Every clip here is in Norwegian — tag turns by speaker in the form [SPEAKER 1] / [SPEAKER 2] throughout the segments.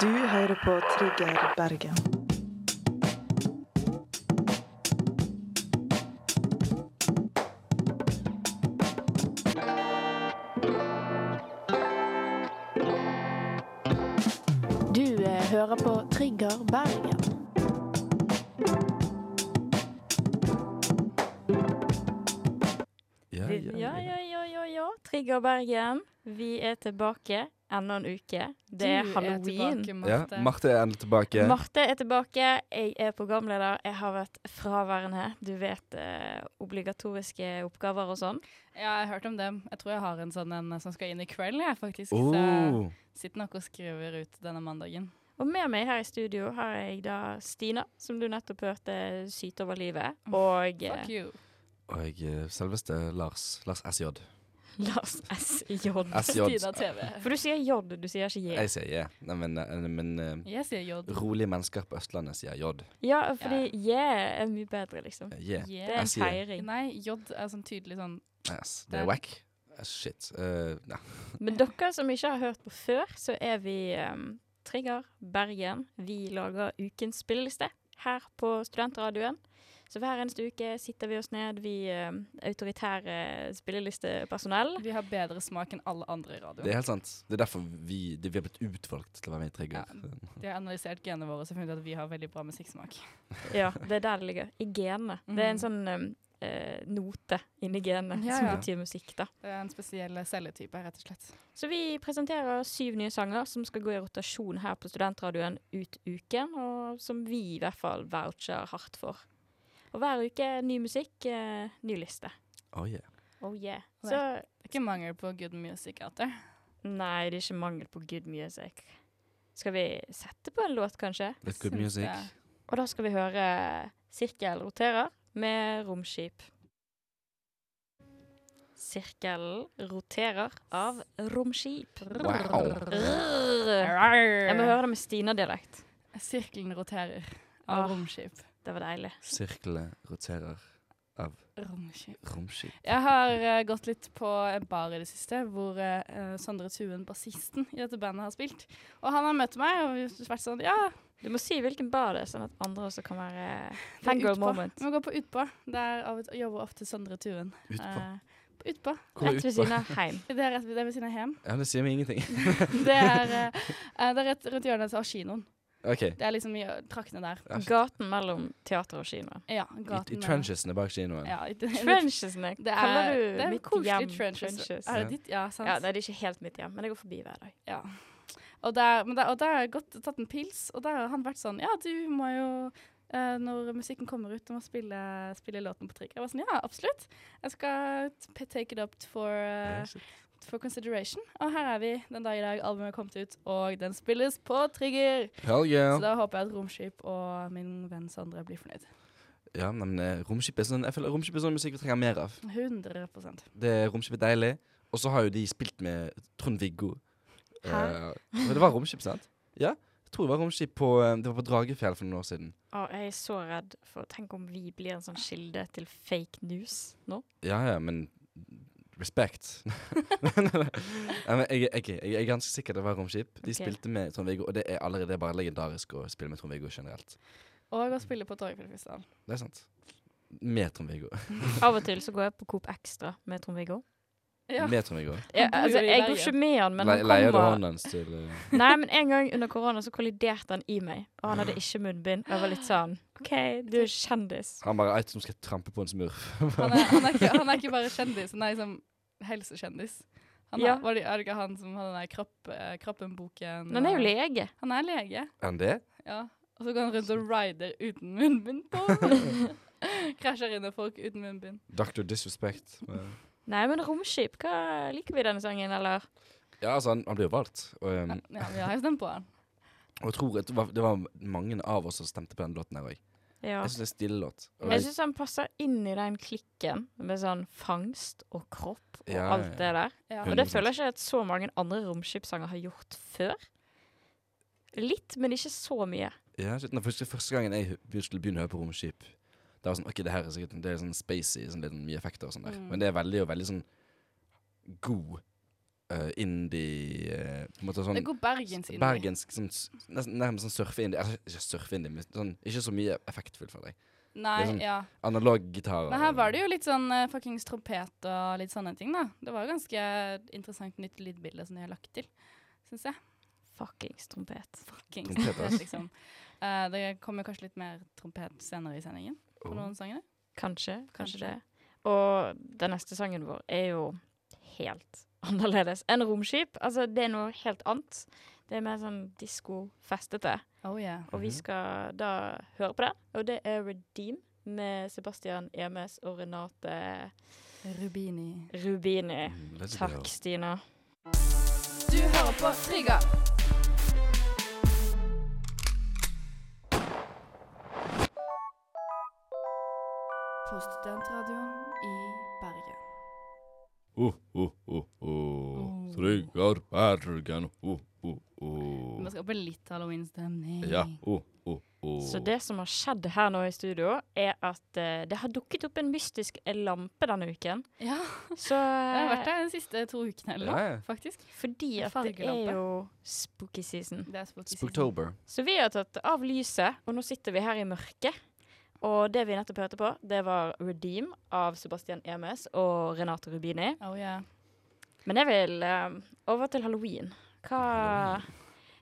[SPEAKER 1] Du hører på Trigger Bergen.
[SPEAKER 2] Du eh, hører på Trigger Bergen.
[SPEAKER 3] Ja,
[SPEAKER 4] Ja, ja, ja, ja, ja. Trigger Bergen. Vi er tilbake enda en uke. Det er halloween.
[SPEAKER 5] tilbake,
[SPEAKER 3] ja.
[SPEAKER 5] Marte.
[SPEAKER 3] Marte er endelig tilbake.
[SPEAKER 4] Marte er tilbake. Jeg er programleder. Jeg har vært fraværende. Du vet eh, obligatoriske oppgaver og sånn.
[SPEAKER 5] Ja, jeg har hørt om dem. Jeg tror jeg har en sånn en som skal inn i kveld, jeg, faktisk. Så jeg
[SPEAKER 3] Oh,
[SPEAKER 5] sitter nok og skriver ut denne mandagen.
[SPEAKER 4] Og med meg her i studio har jeg da Stina, som du nettopp hørte syte over livet. Og eh,
[SPEAKER 5] Fuck you.
[SPEAKER 3] og jeg eh, selveste Lars. Lars SJ.
[SPEAKER 4] Lars S.J.
[SPEAKER 3] SJ.
[SPEAKER 5] Stina TV.
[SPEAKER 4] For du sier J, du sier ikke J.
[SPEAKER 3] Jeg sier J. Nei, men, eh, men eh,
[SPEAKER 5] Jeg sier J.
[SPEAKER 3] rolige mennesker på Østlandet sier J.
[SPEAKER 4] Ja, fordi J er mye bedre, liksom.
[SPEAKER 3] Eh, J.
[SPEAKER 4] Det er
[SPEAKER 5] Yeah.
[SPEAKER 4] en
[SPEAKER 3] SJ.
[SPEAKER 4] feiring.
[SPEAKER 5] Nei, J er sånn tydelig sånn
[SPEAKER 3] Yes. Det er wack. Eh, Shit. Eh, nei.
[SPEAKER 4] Men dere som ikke har hørt på før, så er vi em, Trigger Bergen. Vi lager ukens spilleliste her på Studentradioen. Så hver eneste uke sitter vi oss ned, vi em, autoritære spillelistepersonell.
[SPEAKER 5] Vi har bedre smak enn alle andre i
[SPEAKER 3] Det er
[SPEAKER 5] radioen.
[SPEAKER 3] helt sant. Det er derfor vi, det, vi har blitt utvalgt til å være med i Trigger.
[SPEAKER 5] De har analysert genene våre og funnet ut at vi har veldig bra musikksmak.
[SPEAKER 4] Ja, det er der det ligger. I genene. Det er en sånn em, eh, note inni genene
[SPEAKER 5] Mm. Ja,
[SPEAKER 4] som
[SPEAKER 5] ja.
[SPEAKER 4] betyr musikk, da.
[SPEAKER 5] Det er en spesiell eh, celletype, rett og slett.
[SPEAKER 4] Så vi presenterer syv nye sanger som skal gå i rotasjon her på Studentradioen ut uken, og som vi i hvert fall voucher hardt for. Og hver uke ny musikk, eh, ny liste.
[SPEAKER 3] Oh, yeah.
[SPEAKER 4] Oh yeah. Så
[SPEAKER 5] Og Det er ikke mangel på good music out there.
[SPEAKER 4] Nei, det er ikke mangel på good music. Skal vi sette på en låt, kanskje?
[SPEAKER 3] Litt good
[SPEAKER 5] Syns
[SPEAKER 3] music.
[SPEAKER 5] jeg.
[SPEAKER 4] Og da skal vi høre Sirkel roterer med Romskip. Sirkelen roterer av Romskip.
[SPEAKER 3] Wow.
[SPEAKER 4] Rrrr. Jeg må
[SPEAKER 5] Arr.
[SPEAKER 4] høre det med Stina-dialekt.
[SPEAKER 5] Sirkelen roterer av
[SPEAKER 4] Ah.
[SPEAKER 5] romskip.
[SPEAKER 4] Det var deilig.
[SPEAKER 3] Sirklene roterer av
[SPEAKER 5] Romskip.
[SPEAKER 3] romskip.
[SPEAKER 5] Jeg har eh, gått litt på en bar i det siste, hvor eh, eh, Sondre Tuen, bassisten i dette bandet, har spilt. Og han har møtt meg, og vi har vært sånn Ja,
[SPEAKER 4] Du må si hvilken bar det er, sånn at andre også kan være eh,
[SPEAKER 5] det er
[SPEAKER 4] fangirl
[SPEAKER 5] utpå.
[SPEAKER 4] moment.
[SPEAKER 5] Vi går på Utpå. Der av og til- jobber ofte Sondre Tuen.
[SPEAKER 3] Utpå.
[SPEAKER 5] Eh, på utpå.
[SPEAKER 3] Hvor er
[SPEAKER 4] Rett ved
[SPEAKER 3] utpå?
[SPEAKER 4] siden av heim.
[SPEAKER 5] Det er rett ved, det er ved siden av hjem.
[SPEAKER 3] Ja, det sier meg ingenting.
[SPEAKER 5] Det er, eh, eh, det er rett rundt hjørnet av kinoen.
[SPEAKER 3] OK.
[SPEAKER 5] Det er liksom i eh, traktene der.
[SPEAKER 3] Ja, shit.
[SPEAKER 4] Gaten mellom teater og kino.
[SPEAKER 5] Ja,
[SPEAKER 3] I,
[SPEAKER 5] gaten
[SPEAKER 3] i
[SPEAKER 5] der.
[SPEAKER 3] trenchesene bak kinoen.
[SPEAKER 5] Ja, i-
[SPEAKER 4] Trenchesene.
[SPEAKER 5] Det
[SPEAKER 4] Kaller
[SPEAKER 5] er,
[SPEAKER 4] du
[SPEAKER 5] det er
[SPEAKER 4] mitt
[SPEAKER 5] koselig
[SPEAKER 4] hjem
[SPEAKER 5] trenches.
[SPEAKER 4] trenches?
[SPEAKER 5] Er det ditt? Ja, sant.
[SPEAKER 4] Ja, nei, det er ikke helt mitt hjem, men jeg går forbi hver dag.
[SPEAKER 5] Ja. Og der, men der, og der har jeg gått, tatt en pils, og der har han vært sånn Ja, du må jo eh, når musikken kommer ut, du må spille, spille låten på trigger. Jeg var sånn, ja, absolutt. Jeg skal t- take it up for, eh,
[SPEAKER 3] Ja, shit.
[SPEAKER 5] for consideration. Og her er vi den dag i dag albumet er kommet ut, og den spilles på trigger.
[SPEAKER 3] Hell yeah.
[SPEAKER 5] Så da håper jeg at Romskip og min venn Sondre blir fornøyd.
[SPEAKER 3] Ja, nei, men eh, romskip er sånn, jeg føler romskip er sånn musikk vi trenger mer av.
[SPEAKER 5] 100
[SPEAKER 3] Det Romskip er deilig. Og så har jo de spilt med Trond-Viggo.
[SPEAKER 4] Hæ?
[SPEAKER 3] Eh, men det var romskip, sant? Ja. Jeg tror det var romskip på, eh, det var på Dragefjell for noen år siden.
[SPEAKER 4] Å, jeg er så redd for Tenk om vi blir en sånn kilde til fake news nå.
[SPEAKER 3] Ja, ja, men respekt. Nei, men jeg, jeg, jeg er ganske sikker det var romskip. De
[SPEAKER 4] Ok.
[SPEAKER 3] spilte med Trond-Viggo, og det er allerede bare legendarisk å spille med Trond-Viggo generelt.
[SPEAKER 5] Og å spille på Torgfjellfestivalen.
[SPEAKER 3] Det er sant. Med Trond-Viggo.
[SPEAKER 4] Av og til så går jeg på Coop Extra med Trond-Viggo.
[SPEAKER 5] Ja.
[SPEAKER 3] Med Trond-Viggo.
[SPEAKER 4] Jeg,
[SPEAKER 5] bor jo
[SPEAKER 4] altså,
[SPEAKER 5] i
[SPEAKER 4] jeg går
[SPEAKER 5] Bergen.
[SPEAKER 4] ikke med han, men
[SPEAKER 3] Le,
[SPEAKER 4] han
[SPEAKER 3] leier du
[SPEAKER 4] kommer
[SPEAKER 3] hånden hans til eh,
[SPEAKER 4] Nei, men en gang under korona så kolliderte han i meg, og han hadde ikke munnbind. Og jeg var litt sånn OK, du er kjendis.
[SPEAKER 3] Han bare Eit som skal trampe på en smurf.
[SPEAKER 5] Han er, han, er ikke, han er ikke bare kjendis, han er liksom helsekjendis. Han er,
[SPEAKER 4] Ja.
[SPEAKER 5] var det, er det ikke han som hadde den der kropp, eh, Kroppen-boken?
[SPEAKER 4] Men han er jo
[SPEAKER 5] og-
[SPEAKER 4] lege.
[SPEAKER 5] Han er lege,
[SPEAKER 3] Er han det?
[SPEAKER 5] ja. Og så går han rundt og rider uten munnbind på. Krasjer inn i folk uten munnbind.
[SPEAKER 3] Dr. Disrespect.
[SPEAKER 4] Nei, men Romskip, hva liker vi denne sangen, eller?
[SPEAKER 3] Ja, altså, han, han blir jo valgt. Og, um,
[SPEAKER 5] Ja, vi har jo stemt på han.
[SPEAKER 3] og jeg tror at det var, det var mange av oss som stemte på den låten her òg.
[SPEAKER 4] Ja.
[SPEAKER 3] Jeg syns det er stille låt. Og
[SPEAKER 4] Jeg
[SPEAKER 3] jeg,
[SPEAKER 4] syns han passer inn i den klikken med sånn fangst og kropp og
[SPEAKER 3] Ja,
[SPEAKER 4] alt det der.
[SPEAKER 5] Ja.
[SPEAKER 4] Og det
[SPEAKER 3] 100%.
[SPEAKER 4] føler jeg ikke at så mange andre romskipssanger har gjort før. Litt, men ikke så mye.
[SPEAKER 3] ja, shit, når første, første gangen jeg hu- skulle begynne å høre på Romskip, Det var sånn, ok, det her er sikkert det er sånn spacey, sånn litt mye effekter og sånn der.
[SPEAKER 5] Mm.
[SPEAKER 3] Men det er veldig, og veldig sånn god eh, indie eh, På en måte sånn
[SPEAKER 5] Det går Bergens inn i.
[SPEAKER 3] Bergensk, sånn, s- nesten nærmest sånn surfe-indie. Altså, Ikke surfe-indie, men sånn, ikke så mye effektfullt, føler jeg.
[SPEAKER 5] Nei,
[SPEAKER 3] det er sånn-
[SPEAKER 5] ja.
[SPEAKER 3] Analog gitarer.
[SPEAKER 5] Men her var det jo litt sånn uh, fuckings trompet og litt sånne ting, da. Det var jo ganske interessant nytt lydbilde som de har lagt til, syns jeg.
[SPEAKER 4] Fuckings trompet.
[SPEAKER 5] Fuckings
[SPEAKER 3] Trompet, ass.
[SPEAKER 5] liksom. Eh, det kommer kanskje litt mer trompet senere i sendingen på
[SPEAKER 3] Oh.
[SPEAKER 5] noen sanger.
[SPEAKER 4] Kanskje, kanskje
[SPEAKER 5] Kanskje.
[SPEAKER 4] det. Og den neste sangen vår er jo helt annerledes enn Romskip. Altså, det er noe helt annet. Det er mer sånn disko-festete.
[SPEAKER 5] Oh yeah.
[SPEAKER 4] Og vi
[SPEAKER 3] Mhm.
[SPEAKER 4] skal da høre på den. Og det er Redeem med Sebastian Emes og Renate
[SPEAKER 5] Rubini.
[SPEAKER 4] Rubini.
[SPEAKER 3] Mm, let's go.
[SPEAKER 4] Takk, Stina.
[SPEAKER 5] Du hører på Trigger. På studentradioen i Bergen.
[SPEAKER 3] Oh, oh, oh, oh. Tryggar Bergen. Oh, oh, oh.
[SPEAKER 5] Vi skal på litt Halloween-stemning.
[SPEAKER 3] Ja. Oh, oh, oh.
[SPEAKER 4] Så det som har skjedd her nå i studio, er at eh, det har dukket opp en mystisk lampe denne uken.
[SPEAKER 5] Ja,
[SPEAKER 4] Så eh,
[SPEAKER 5] Jeg har vært der de siste to ukene eller noe,
[SPEAKER 3] Ja, ja.
[SPEAKER 5] faktisk.
[SPEAKER 4] Fordi
[SPEAKER 5] En
[SPEAKER 4] at det
[SPEAKER 5] fargelampe.
[SPEAKER 4] er jo spooky season.
[SPEAKER 5] Det er spooky season.
[SPEAKER 3] Spooktober.
[SPEAKER 4] Så vi har tatt av lyset, og nå sitter vi her i mørket. Og det vi nettopp hørte på, det var 'Redeem' av Sebastian Emes og Renate Rubini.
[SPEAKER 5] Oh, yeah.
[SPEAKER 4] Men jeg vil eh, over til halloween. Hva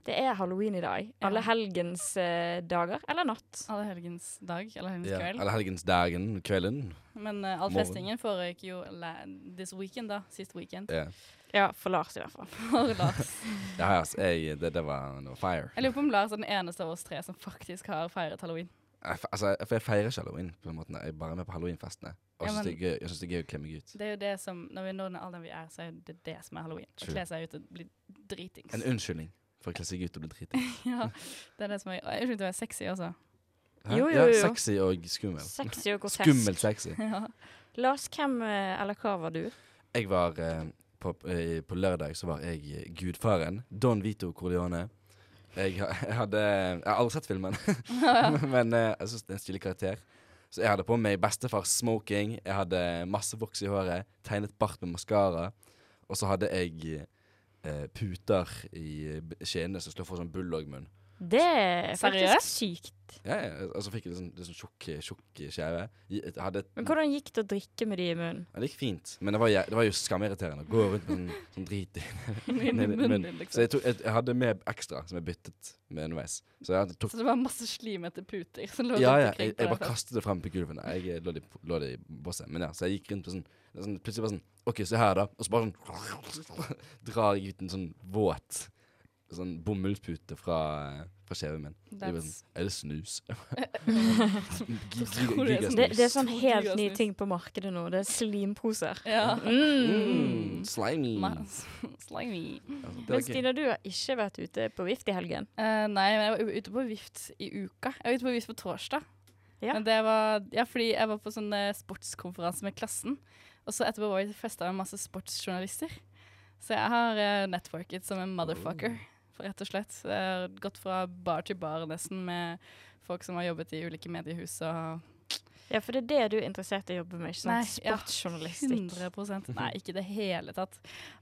[SPEAKER 4] Det er halloween i dag. Alle helgens eh, dager, eller natt.
[SPEAKER 5] Allehelgens dag, allehelgens
[SPEAKER 3] Ja.
[SPEAKER 5] kveld.
[SPEAKER 3] Eller helgensdagen. Kvelden.
[SPEAKER 5] Men eh, all
[SPEAKER 3] Morgen.
[SPEAKER 5] festingen foregikk jo la- this weekend, da. Sist weekend.
[SPEAKER 3] Ja,
[SPEAKER 4] Ja, for Lars i hvert fall.
[SPEAKER 5] For Lars.
[SPEAKER 3] ja altså, jeg, det, det, var, det var fire.
[SPEAKER 5] Jeg lurer på om Lars er den eneste av oss tre som faktisk har feiret halloween.
[SPEAKER 3] Jeg, fe- altså, jeg, for jeg feirer ikke halloween. på en måte. Jeg er bare med på halloweenfestene. Og
[SPEAKER 5] Ja,
[SPEAKER 3] jeg syns
[SPEAKER 5] men-
[SPEAKER 3] det, er gøy- jeg synes det er gøy å klemme meg ut.
[SPEAKER 5] Det er jo det som, Når vi når den alderen vi er, så er det det som er halloween. Å
[SPEAKER 3] True.
[SPEAKER 5] kle seg ut og bli dritings.
[SPEAKER 3] En unnskyldning for å kle seg ut og bli driting.
[SPEAKER 5] ja, det er det som er, og jeg begynte å være sexy også.
[SPEAKER 3] Hæ?
[SPEAKER 4] Jo, jo,
[SPEAKER 3] Ja,
[SPEAKER 4] jo.
[SPEAKER 3] sexy og skummel.
[SPEAKER 4] Sexy og grotesk.
[SPEAKER 3] Skummelt sexy.
[SPEAKER 5] Ja.
[SPEAKER 4] Lars, hvem eh, eller hva var du?
[SPEAKER 3] Jeg var eh, på, eh, på lørdag så var jeg eh, gudfaren. Don Vito Corleone. Jeg, ha- jeg hadde Jeg har aldri sett filmen, men eh, jeg syns det er en stilig karakter. Så jeg hadde på meg bestefars smoking, jeg hadde masse voks i håret, tegnet bart med maskara, og så hadde jeg eh, puter i eh, skinnene som slår for sånn bullogmunn.
[SPEAKER 4] Det er faktisk sykt.
[SPEAKER 3] Ja, ja, og så fikk jeg litt sånn, litt sånn tjukk tjukk skjeve. I- jeg Hadde
[SPEAKER 4] Men hvordan gikk det å drikke med de i munnen?
[SPEAKER 3] Ja, Det gikk fint, men det var, jæ- det var jo skamirriterende å gå rundt med sånn, sånn drit i
[SPEAKER 5] Inn i
[SPEAKER 3] nedi
[SPEAKER 5] munnen
[SPEAKER 3] munnen.
[SPEAKER 5] din,
[SPEAKER 3] Så
[SPEAKER 5] liksom.
[SPEAKER 3] jeg, tok, jeg, jeg hadde med ekstra, som jeg byttet med underveis. Så jeg tok
[SPEAKER 5] Så det var masse slimete puter som lå
[SPEAKER 3] Ja, ja,
[SPEAKER 5] rundt omkring
[SPEAKER 3] jeg,
[SPEAKER 5] på
[SPEAKER 3] jeg
[SPEAKER 5] deg
[SPEAKER 3] bare kastet det frem på gulvet. Nei, Jeg lå det i- lå det i bosset. Men ja, så jeg gikk rundt på sånn, det er sånn Plutselig bare sånn OK, se her, da. Og så bare sånn drar jeg ut en sånn våt sånn bomullspute fra, fra kjeven min. Så jeg bare
[SPEAKER 5] That's-
[SPEAKER 3] Sånn, er det snus?
[SPEAKER 5] tror jeg det
[SPEAKER 4] Det,
[SPEAKER 5] er
[SPEAKER 4] det er
[SPEAKER 3] Gigasnus.
[SPEAKER 4] sånn
[SPEAKER 5] Stor
[SPEAKER 4] helt
[SPEAKER 5] dyr,
[SPEAKER 4] ny
[SPEAKER 5] altså.
[SPEAKER 4] ting på markedet nå. Det er slimposer.
[SPEAKER 5] Ja.
[SPEAKER 4] Mm.
[SPEAKER 3] Mm, slimy.
[SPEAKER 5] Ma- Slimy.
[SPEAKER 3] Altså, det var
[SPEAKER 4] Men
[SPEAKER 3] gøy.
[SPEAKER 4] Stina, du har ikke vært ute på vift i helgen.
[SPEAKER 5] Eh, nei, men jeg var u- ute på vift i uka. Jeg var ute på vift på torsdag.
[SPEAKER 4] Ja.
[SPEAKER 5] Men det var, ja, fordi jeg var på sånn eh, sportskonferanse med klassen. Og så etterpå var vi til festa med masse sportsjournalister. Så jeg har eh, networket som en motherfucker, for rett og slett. Jeg har gått fra bar til bar nesten med folk som har jobbet i ulike mediehus og
[SPEAKER 4] Ja, for det er det du er interessert i å jobbe med, ikke sant?
[SPEAKER 5] Nei, ja.
[SPEAKER 4] Sportsjournalistikk.
[SPEAKER 5] 100 Nei, ikke i det hele tatt.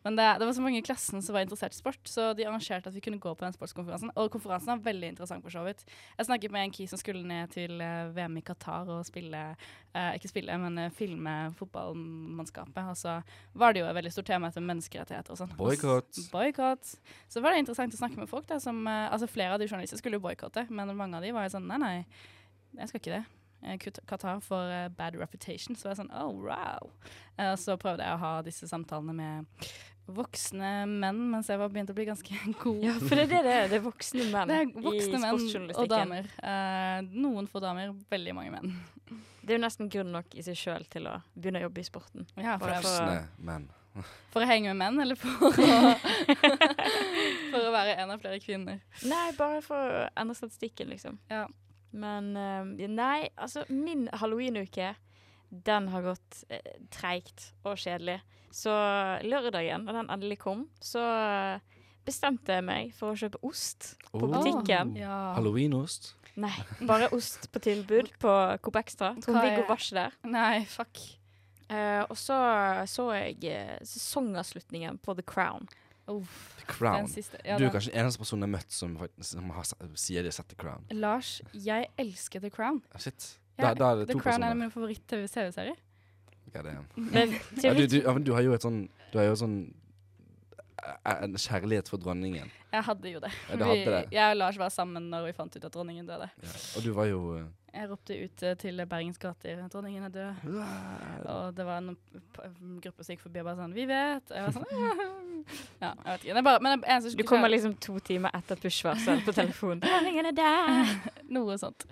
[SPEAKER 5] Men det, det var så mange i klassen som var interessert i sport, så de arrangerte at vi kunne gå på den sportskonferansen. Og konferansen var veldig interessant, for så vidt. Jeg snakket med en key som skulle ned til eh, VM i Qatar og spille eh, Ikke spille, men eh, filme fotballmannskapet. Og så var det jo et veldig stort tema etter menneskerettigheter og sånn.
[SPEAKER 3] Boikott.
[SPEAKER 5] Boikott. Så var det interessant å snakke med folk. Da, som, eh, altså Flere av de journalistene skulle jo boikotte, men mange av de var jo sånn Nei, nei, jeg skal ikke det. Eh, Qat- Qatar får eh, bad reputation. Så var jeg sånn oh, wow. Eh, og så prøvde jeg å ha disse samtalene med voksne menn mens jeg var begynt å bli ganske god.
[SPEAKER 4] Ja, for det er det det er. Det er voksne menn
[SPEAKER 5] Det er voksne
[SPEAKER 4] i
[SPEAKER 5] menn og
[SPEAKER 4] sportsjournalistikken.
[SPEAKER 5] damer. Eh, noen få damer, veldig mange menn.
[SPEAKER 4] Det er jo nesten grunn nok i seg sjøl til å begynne å jobbe i sporten.
[SPEAKER 5] Ja, for,
[SPEAKER 4] Bare
[SPEAKER 5] for,
[SPEAKER 3] Voksne menn.
[SPEAKER 5] for å henge med menn, eller for å, for å være en av flere kvinner.
[SPEAKER 4] Nei, bare for å endre statistikken, liksom.
[SPEAKER 5] Ja.
[SPEAKER 4] Men eh, nei, altså min halloweenuke, den har gått eh, treigt og kjedelig. Så lørdagen, da den endelig kom, så bestemte jeg meg for å kjøpe ost på
[SPEAKER 3] Oh.
[SPEAKER 4] butikken.
[SPEAKER 5] Ja.
[SPEAKER 3] Halloweenost.
[SPEAKER 4] Nei, bare ost på tilbud på Coop Extra. Trond-Viggo
[SPEAKER 5] er-
[SPEAKER 4] var ikke der.
[SPEAKER 5] Nei, fuck.
[SPEAKER 4] Eh, og så så jeg eh, sesongavslutningen på The Crown.
[SPEAKER 5] Uff,
[SPEAKER 3] The Crown.
[SPEAKER 5] Den siste. Ja,
[SPEAKER 3] du
[SPEAKER 5] da.
[SPEAKER 3] er kanskje den eneste personen jeg har møtt som, faktisk, som har, sa- sier de har sett The Crown.
[SPEAKER 5] Lars, jeg elsker The Crown.
[SPEAKER 3] Ah, Shit.
[SPEAKER 5] Ja,
[SPEAKER 3] Da, da er det
[SPEAKER 5] The
[SPEAKER 3] to
[SPEAKER 5] Crown er
[SPEAKER 3] personer.
[SPEAKER 5] min favoritt-TV-serier.
[SPEAKER 3] Ja, det er.
[SPEAKER 4] Men
[SPEAKER 3] Ja,
[SPEAKER 4] til
[SPEAKER 3] du,
[SPEAKER 4] litt,
[SPEAKER 3] du, ja, men du har jo et sånn Du har jo sånn eh, en kjærlighet for dronningen.
[SPEAKER 5] Jeg hadde jo det.
[SPEAKER 3] Ja, du hadde det.
[SPEAKER 5] Vi, jeg og Lars var sammen når vi fant ut at dronningen døde.
[SPEAKER 3] Ja. Og du var jo eh,
[SPEAKER 5] Jeg ropte ut eh, til Bergens gater 'Dronningen er død'.
[SPEAKER 3] eh,
[SPEAKER 5] Og det var en p- gruppe som gikk forbi og bare sånn 'Vi vet'. Og jeg var sånn Ja, jeg vet ikke. Det er bare, men det er eneste som
[SPEAKER 4] du
[SPEAKER 5] skulle
[SPEAKER 4] kommer
[SPEAKER 5] klare-
[SPEAKER 4] liksom to timer etter push-varsel på telefonen. Dronningen er der!
[SPEAKER 5] Noe sånt.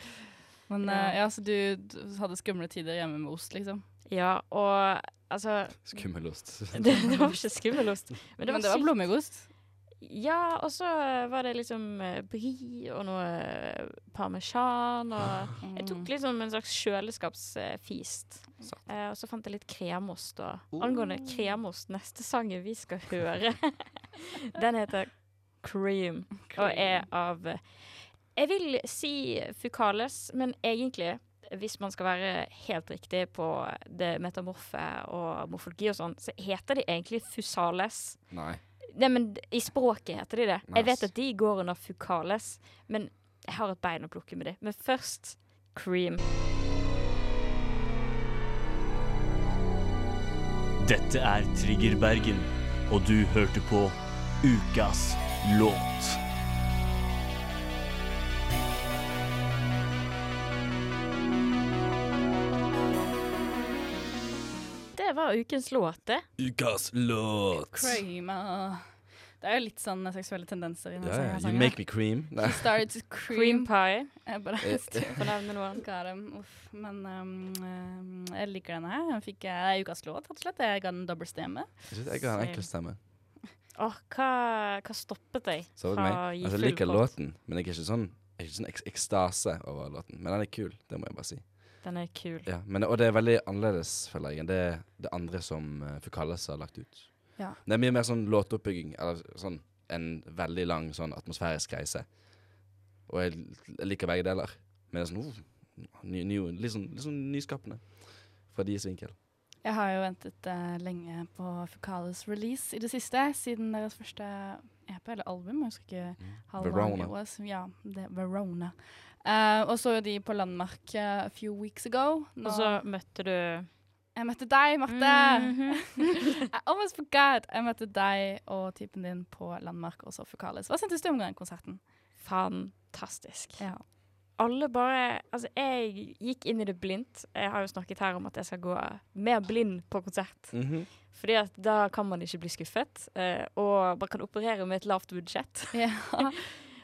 [SPEAKER 5] Men
[SPEAKER 4] Ja.
[SPEAKER 5] eh, ja, så du, du hadde skumle tider hjemme med ost, liksom.
[SPEAKER 4] Ja, og altså
[SPEAKER 3] Skummelost.
[SPEAKER 4] det, det var ikke skummelost. Men det var,
[SPEAKER 5] men det var
[SPEAKER 4] sykt-
[SPEAKER 5] blåmuggost.
[SPEAKER 4] Ja, og så var det liksom eh, brie og noe eh, parmesan og Jeg
[SPEAKER 5] Mm.
[SPEAKER 4] tok liksom en slags kjøleskapsfist.
[SPEAKER 3] Sant.
[SPEAKER 4] Eh, og så fant jeg litt kremost. Og angående kremost, neste sangen vi skal høre, den heter Cream, og er av eh, Jeg vil si Fukales, men egentlig, hvis man skal være helt riktig på det metamorfe og morfologi og sånn, så heter de egentlig Fusales.
[SPEAKER 3] Nei.
[SPEAKER 4] Nei, men d- i språket heter de det. Jeg vet
[SPEAKER 3] Nice.
[SPEAKER 4] at de går under fukales, men jeg har et bein å plukke med de. Men først cream.
[SPEAKER 6] Dette er Trigger Bergen, og du hørte på Ukas låt.
[SPEAKER 4] Det var ukens låt, det.
[SPEAKER 3] Ukas låt.
[SPEAKER 5] Cream ah. Det er jo litt sånn seksuelle tendenser i den
[SPEAKER 3] Ja, ja. You
[SPEAKER 5] sangen.
[SPEAKER 3] make me cream. Nei.
[SPEAKER 5] He started to
[SPEAKER 4] Cream
[SPEAKER 5] cream.
[SPEAKER 4] pie,
[SPEAKER 5] Jeg bare
[SPEAKER 3] Eh,
[SPEAKER 4] for å nevne noen.
[SPEAKER 5] Ga dem, uff. Men um, um, jeg liker denne her. Jeg fikk eh, ukas låt, rett og slett. Jeg ga den dobbel stemme.
[SPEAKER 3] Jeg synes jeg har en enkel stemme.
[SPEAKER 4] Åh, hva, hva stoppet deg
[SPEAKER 3] Så det
[SPEAKER 4] fra
[SPEAKER 3] meg.
[SPEAKER 4] å gi
[SPEAKER 3] Altså, jeg
[SPEAKER 4] full
[SPEAKER 3] liker
[SPEAKER 4] pott?
[SPEAKER 3] låten, men jeg er ikke sånn jeg er ikke sånn eks ekstase over låten. Men den er kul, det må jeg bare si.
[SPEAKER 4] Den er kul.
[SPEAKER 3] Ja, men, og det er veldig annerledes, føler jeg, enn det, det andre som uh, Fukalles har lagt ut.
[SPEAKER 5] Ja.
[SPEAKER 3] Det er mye mer sånn låtoppbygging, eller sånn en veldig lang sånn atmosfærisk reise. Og jeg, l- jeg liker begge deler. Men det er sånn uh, ny, ny, litt, sånn, litt sånn nyskapende fra deres vinkel.
[SPEAKER 5] Jeg har jo ventet eh, lenge på Fukales release i det siste, siden deres første EP eller album. Jeg husker ikke how long
[SPEAKER 3] Mm. Verona.
[SPEAKER 5] it was. Ja, det Verona. Eh, og så jo de på Landmark eh, a few weeks ago. Nå-
[SPEAKER 4] Og så møtte du
[SPEAKER 5] jeg møtte deg, Marte!
[SPEAKER 4] Mhm.
[SPEAKER 5] I almost forgot! Jeg møtte deg og typen din på Landmark, og så Fukales. Hva syntes du om den konserten?
[SPEAKER 4] Fantastisk.
[SPEAKER 5] Ja.
[SPEAKER 4] alle bare Altså, jeg gikk inn i det blindt. Jeg har jo snakket her om at jeg skal gå mer blind på konsert.
[SPEAKER 3] Mhm.
[SPEAKER 4] Fordi at da kan man ikke bli skuffet, eh, og man kan operere med et lavt budsjett.
[SPEAKER 5] Ja.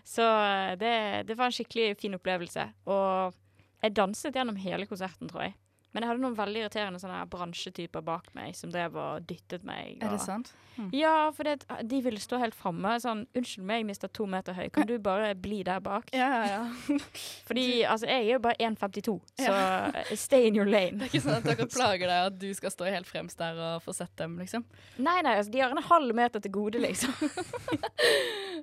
[SPEAKER 4] Så eh, det, det var en skikkelig fin opplevelse. Og jeg danset gjennom hele konserten, tror jeg. Men jeg hadde noen veldig irriterende sånne her bransjetyper bak meg som drev og dyttet meg.
[SPEAKER 5] Er
[SPEAKER 4] og-
[SPEAKER 5] det sant?
[SPEAKER 4] Ja, for det, de ville stå helt framme. Sånn 'Unnskyld meg, mister to meter høy, kan du bare bli der bak?'
[SPEAKER 5] Ja, ja, ja.
[SPEAKER 4] Fordi altså, jeg er jo bare 1,52, så eh, stay in your lane.
[SPEAKER 5] Det er ikke sånn at dere plager deg at du skal stå helt fremst der og få sett dem, liksom.
[SPEAKER 4] Nei, nei, altså, de har en halv meter til gode, liksom.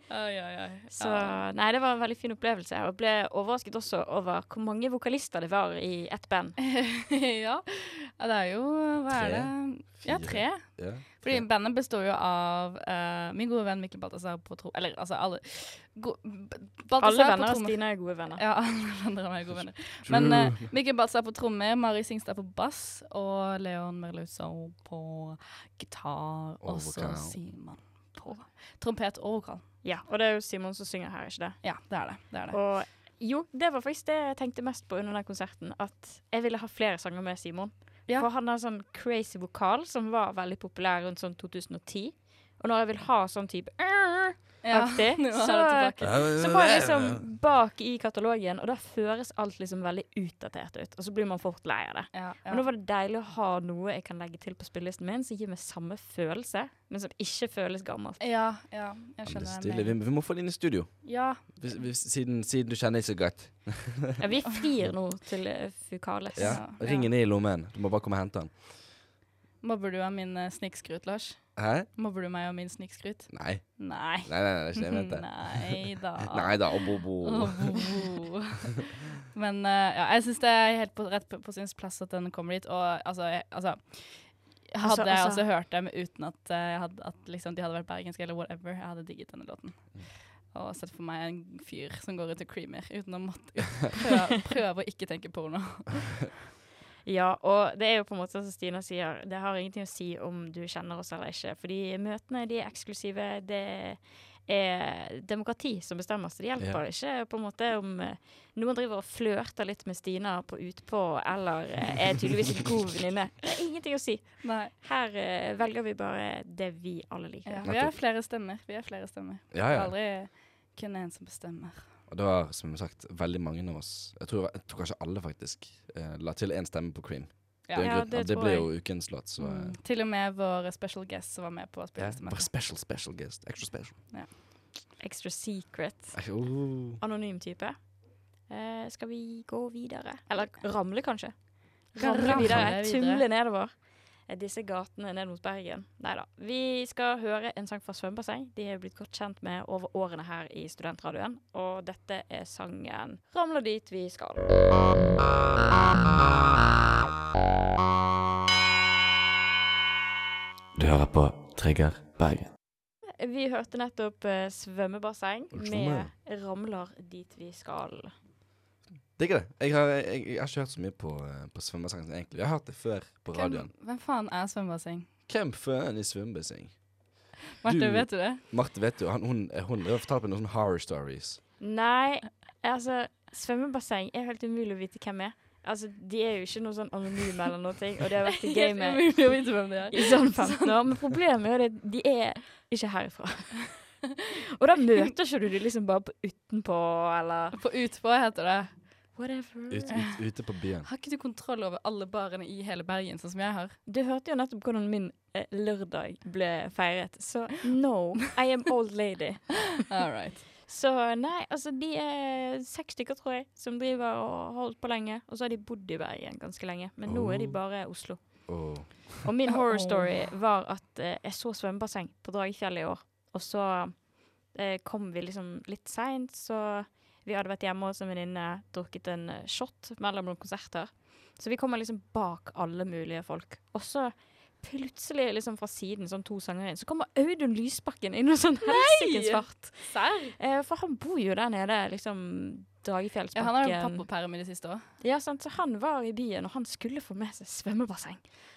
[SPEAKER 5] Ai, ai, ai.
[SPEAKER 4] Så nei, det var en veldig fin opplevelse. Og jeg ble overrasket også over hvor mange vokalister det var i ett band.
[SPEAKER 5] ja. ja, det er jo Hva er
[SPEAKER 3] Tre?
[SPEAKER 5] det? Ja,
[SPEAKER 3] Fire.
[SPEAKER 5] tre.
[SPEAKER 3] Ja.
[SPEAKER 5] Fordi
[SPEAKER 3] Tre.
[SPEAKER 5] bandet består jo av eh, min gode venn Mikkel Balthazar på tro... Eller altså alle go, B-
[SPEAKER 4] Alle
[SPEAKER 5] Balthazar på
[SPEAKER 4] venner av
[SPEAKER 5] trommer.
[SPEAKER 4] Stina er gode venner.
[SPEAKER 5] Ja, alle venner av meg er gode venner. Men eh, Mikkel Balthazar på trommer, Mari Singstad på bass og Leon Merluzzo på gitar.
[SPEAKER 3] Og
[SPEAKER 5] Og så
[SPEAKER 3] vokal.
[SPEAKER 5] Simon på trompet og vokal.
[SPEAKER 4] Ja, og det er jo Simon som synger her, ikke det?
[SPEAKER 5] Ja, det er det. det, er det.
[SPEAKER 4] Og jo, det var faktisk det jeg tenkte mest på under den konserten. At jeg ville ha flere sanger med Simon.
[SPEAKER 5] Ja.
[SPEAKER 4] For han har sånn crazy vokal som var veldig populær rundt sånn 2010. Og når jeg vil ha sånn type
[SPEAKER 5] Ja,
[SPEAKER 4] aktig,
[SPEAKER 5] nå er det
[SPEAKER 4] så
[SPEAKER 5] tilbake.
[SPEAKER 4] Så var jeg liksom bak i katalogen, og da føres alt liksom veldig utdatert ut. Og så blir man fort lei av det.
[SPEAKER 5] Ja,
[SPEAKER 4] Og nå var det deilig å ha noe jeg kan legge til på spillelisten min som gir meg samme følelse, men som ikke føles gammelt.
[SPEAKER 5] ja, ja, jeg
[SPEAKER 3] Ja, men det er
[SPEAKER 5] skjønner.
[SPEAKER 3] stilig. Vi, vi må få det inn i studio,
[SPEAKER 5] Ja,
[SPEAKER 3] hvis, hvis, siden, siden du kjenner deg så godt.
[SPEAKER 4] Ja, vi frir nå til eh, Fukales.
[SPEAKER 3] Ja.
[SPEAKER 5] Ja.
[SPEAKER 3] Ringen er i lommen. Du må bare komme og hente den.
[SPEAKER 5] Mobber du av min eh, snikskryt, Lars?
[SPEAKER 3] Hæ?
[SPEAKER 5] Mobber du meg av min snikskryt?
[SPEAKER 3] Nei.
[SPEAKER 5] Nei.
[SPEAKER 3] Nei, nei, nei, det er ikke det jeg mente.
[SPEAKER 5] Nei da.
[SPEAKER 3] Nei da, bo, bo.
[SPEAKER 5] Åh. Men eh, ja, jeg syns det er helt på, rett på, på sin plass at den kommer dit. Og altså, jeg, altså hadde
[SPEAKER 4] Altså,
[SPEAKER 5] jeg
[SPEAKER 4] altså.
[SPEAKER 5] også hørt dem uten at, eh, jeg hadde, at liksom, de hadde vært bergenske eller whatever, jeg hadde digget denne låten.
[SPEAKER 3] Mm.
[SPEAKER 5] Og sett for meg en fyr som går ut og creamer uten å måtte prøve, prøve å ikke tenke porno.
[SPEAKER 4] Ja, og det er jo på en måte som Stina sier, det har ingenting å si om du kjenner oss eller ikke. Fordi møtene de er eksklusive. Det er demokrati som bestemmer, så det hjelper ikke på en måte om eh, noen driver og flørter litt med Stina på utpå, eller eh, er tydeligvis en god venninne. Det er ingenting å si.
[SPEAKER 5] Nei.
[SPEAKER 4] Her eh, velger vi bare det vi alle liker.
[SPEAKER 5] Ja, vi er flere stemmer. Vi er flere stemmer.
[SPEAKER 3] Ja, ja.
[SPEAKER 5] Aldri kun én som bestemmer.
[SPEAKER 3] Og det var, som sagt, veldig mange av oss Jeg tror, jeg tror kanskje alle, faktisk, eh, la til én stemme på Cream.
[SPEAKER 5] Ja.
[SPEAKER 3] det, er en
[SPEAKER 4] Ja,
[SPEAKER 3] grunn-
[SPEAKER 4] det
[SPEAKER 3] og det
[SPEAKER 4] tror
[SPEAKER 3] ble
[SPEAKER 4] jeg.
[SPEAKER 3] jo ukens låt, så eh,
[SPEAKER 5] Mm. Til og med vår special guest som var med på
[SPEAKER 3] ja,
[SPEAKER 5] spillelistemet.
[SPEAKER 3] Bare special, special guest. Extra special.
[SPEAKER 4] Extra secret.
[SPEAKER 3] Eh, Oh.
[SPEAKER 4] Anonym type. Eh, skal vi gå videre? Eller ramle, kanskje?
[SPEAKER 5] Kan
[SPEAKER 4] Ramle
[SPEAKER 5] ramle
[SPEAKER 4] videre.
[SPEAKER 5] videre.
[SPEAKER 4] Tumle nedover. Eh, Disse gatene ned mot Bergen. Nei da. Vi skal høre en sang fra svømmebasseng. De er blitt godt kjent med over årene her i Studentradioen. Og dette er sangen 'Ramler dit vi skal'.
[SPEAKER 6] Du hører på Trigger Bergen.
[SPEAKER 4] Vi hørte nettopp eh, svømmebasseng
[SPEAKER 3] Svømme.
[SPEAKER 4] med 'Ramler dit vi skal'.
[SPEAKER 3] Digger det. Jeg har, jeg, jeg har ikke hørt så mye på, eh, på svømmesangen, egentlig. Jeg har hørt det før på radioen.
[SPEAKER 5] Hvem, hvem faen er svømmebasseng?
[SPEAKER 3] Hvem faen i svømmebasseng?
[SPEAKER 5] Marte,
[SPEAKER 3] Du-
[SPEAKER 5] vet du det?
[SPEAKER 3] Marte vet jo, han, hun, hun, hun fortalte meg noen sånne horror stories.
[SPEAKER 4] Nei, altså Svømmebasseng er helt umulig å vite hvem er. Altså, De er jo ikke noe sånn anonyme eller noe, og det har vært i
[SPEAKER 5] Helt
[SPEAKER 4] gamet
[SPEAKER 5] umulig å vite hvem det er.
[SPEAKER 4] i sånn 15 år. Men problemet er jo at de er ikke herifra. Og da møter ikke du de liksom bare på utenpå eller
[SPEAKER 5] På Utpå heter det.
[SPEAKER 4] whatever.
[SPEAKER 3] Ut, ut, ute på byen.
[SPEAKER 5] Har ikke du kontroll over alle barene i hele Bergen, sånn som jeg har?
[SPEAKER 4] Du hørte jo nettopp hvordan min eh, lørdag ble feiret, så no, I am old lady.
[SPEAKER 5] All right.
[SPEAKER 4] Så nei, altså de er seks stykker, tror jeg, som driver og har holdt på lenge. Og så har de bodd i Bergen ganske lenge, men nå er de
[SPEAKER 3] Oh.
[SPEAKER 4] bare Oslo.
[SPEAKER 3] Og
[SPEAKER 4] Og min
[SPEAKER 5] Oh.
[SPEAKER 4] horror story var at eh, jeg så svømmebasseng på Dragefjell i år. Og så eh, kom vi liksom litt seint, så vi hadde vært hjemme hos en venninne, drukket en eh, shot mellom noen konserter. Så vi kommer liksom bak alle mulige folk. Og så plutselig, liksom fra siden, sånn to sanger inn, så kommer Audun Lysbakken inn og sånn helsikes fart.
[SPEAKER 5] Serr?
[SPEAKER 4] Eh, for han bor jo der nede, liksom Dragefjellsbakken.
[SPEAKER 5] Ja, han har jo pappaperm i det siste òg.
[SPEAKER 4] Ja, sant? Så han var i byen, og han skulle få med seg svømmebasseng.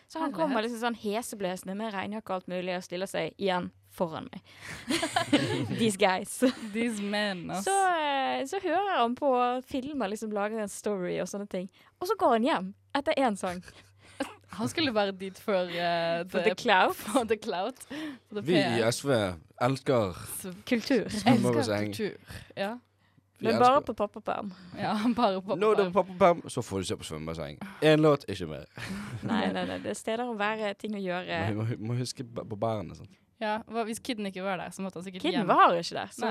[SPEAKER 4] Så han
[SPEAKER 5] Herlighet.
[SPEAKER 4] kommer liksom sånn heseblesende med regnjakke og alt mulig og stiller seg igjen foran meg. These guys.
[SPEAKER 5] These men, ass.
[SPEAKER 4] Så, eh, så hører han på filmer, liksom lager en story og sånne ting. Og så går han hjem etter én sang.
[SPEAKER 5] Han skulle være dit for eh,
[SPEAKER 4] For The
[SPEAKER 5] the,
[SPEAKER 4] Clout.
[SPEAKER 5] for the Clout. For the
[SPEAKER 3] vi i
[SPEAKER 5] PR.
[SPEAKER 3] SV elsker
[SPEAKER 4] Kultur.
[SPEAKER 5] Elsker
[SPEAKER 3] svømmebasseng.
[SPEAKER 5] kultur. Ja.
[SPEAKER 3] Vi
[SPEAKER 4] Men bare
[SPEAKER 3] elsker-
[SPEAKER 4] på pappaperm.
[SPEAKER 5] ja, bare på
[SPEAKER 3] Når det er pappaperm, så får du se på svømmebasseng. Én låt, ikke mer.
[SPEAKER 4] Nei, nei, nei. Det er steder å være, ting å gjøre.
[SPEAKER 3] Men Vi må, hu- må huske ba- på sånn. barnet. sant?
[SPEAKER 5] Ja, hva- Hvis kiden ikke var der, så måtte han sikkert
[SPEAKER 4] Kidden
[SPEAKER 5] hjem.
[SPEAKER 4] var jo ikke der, så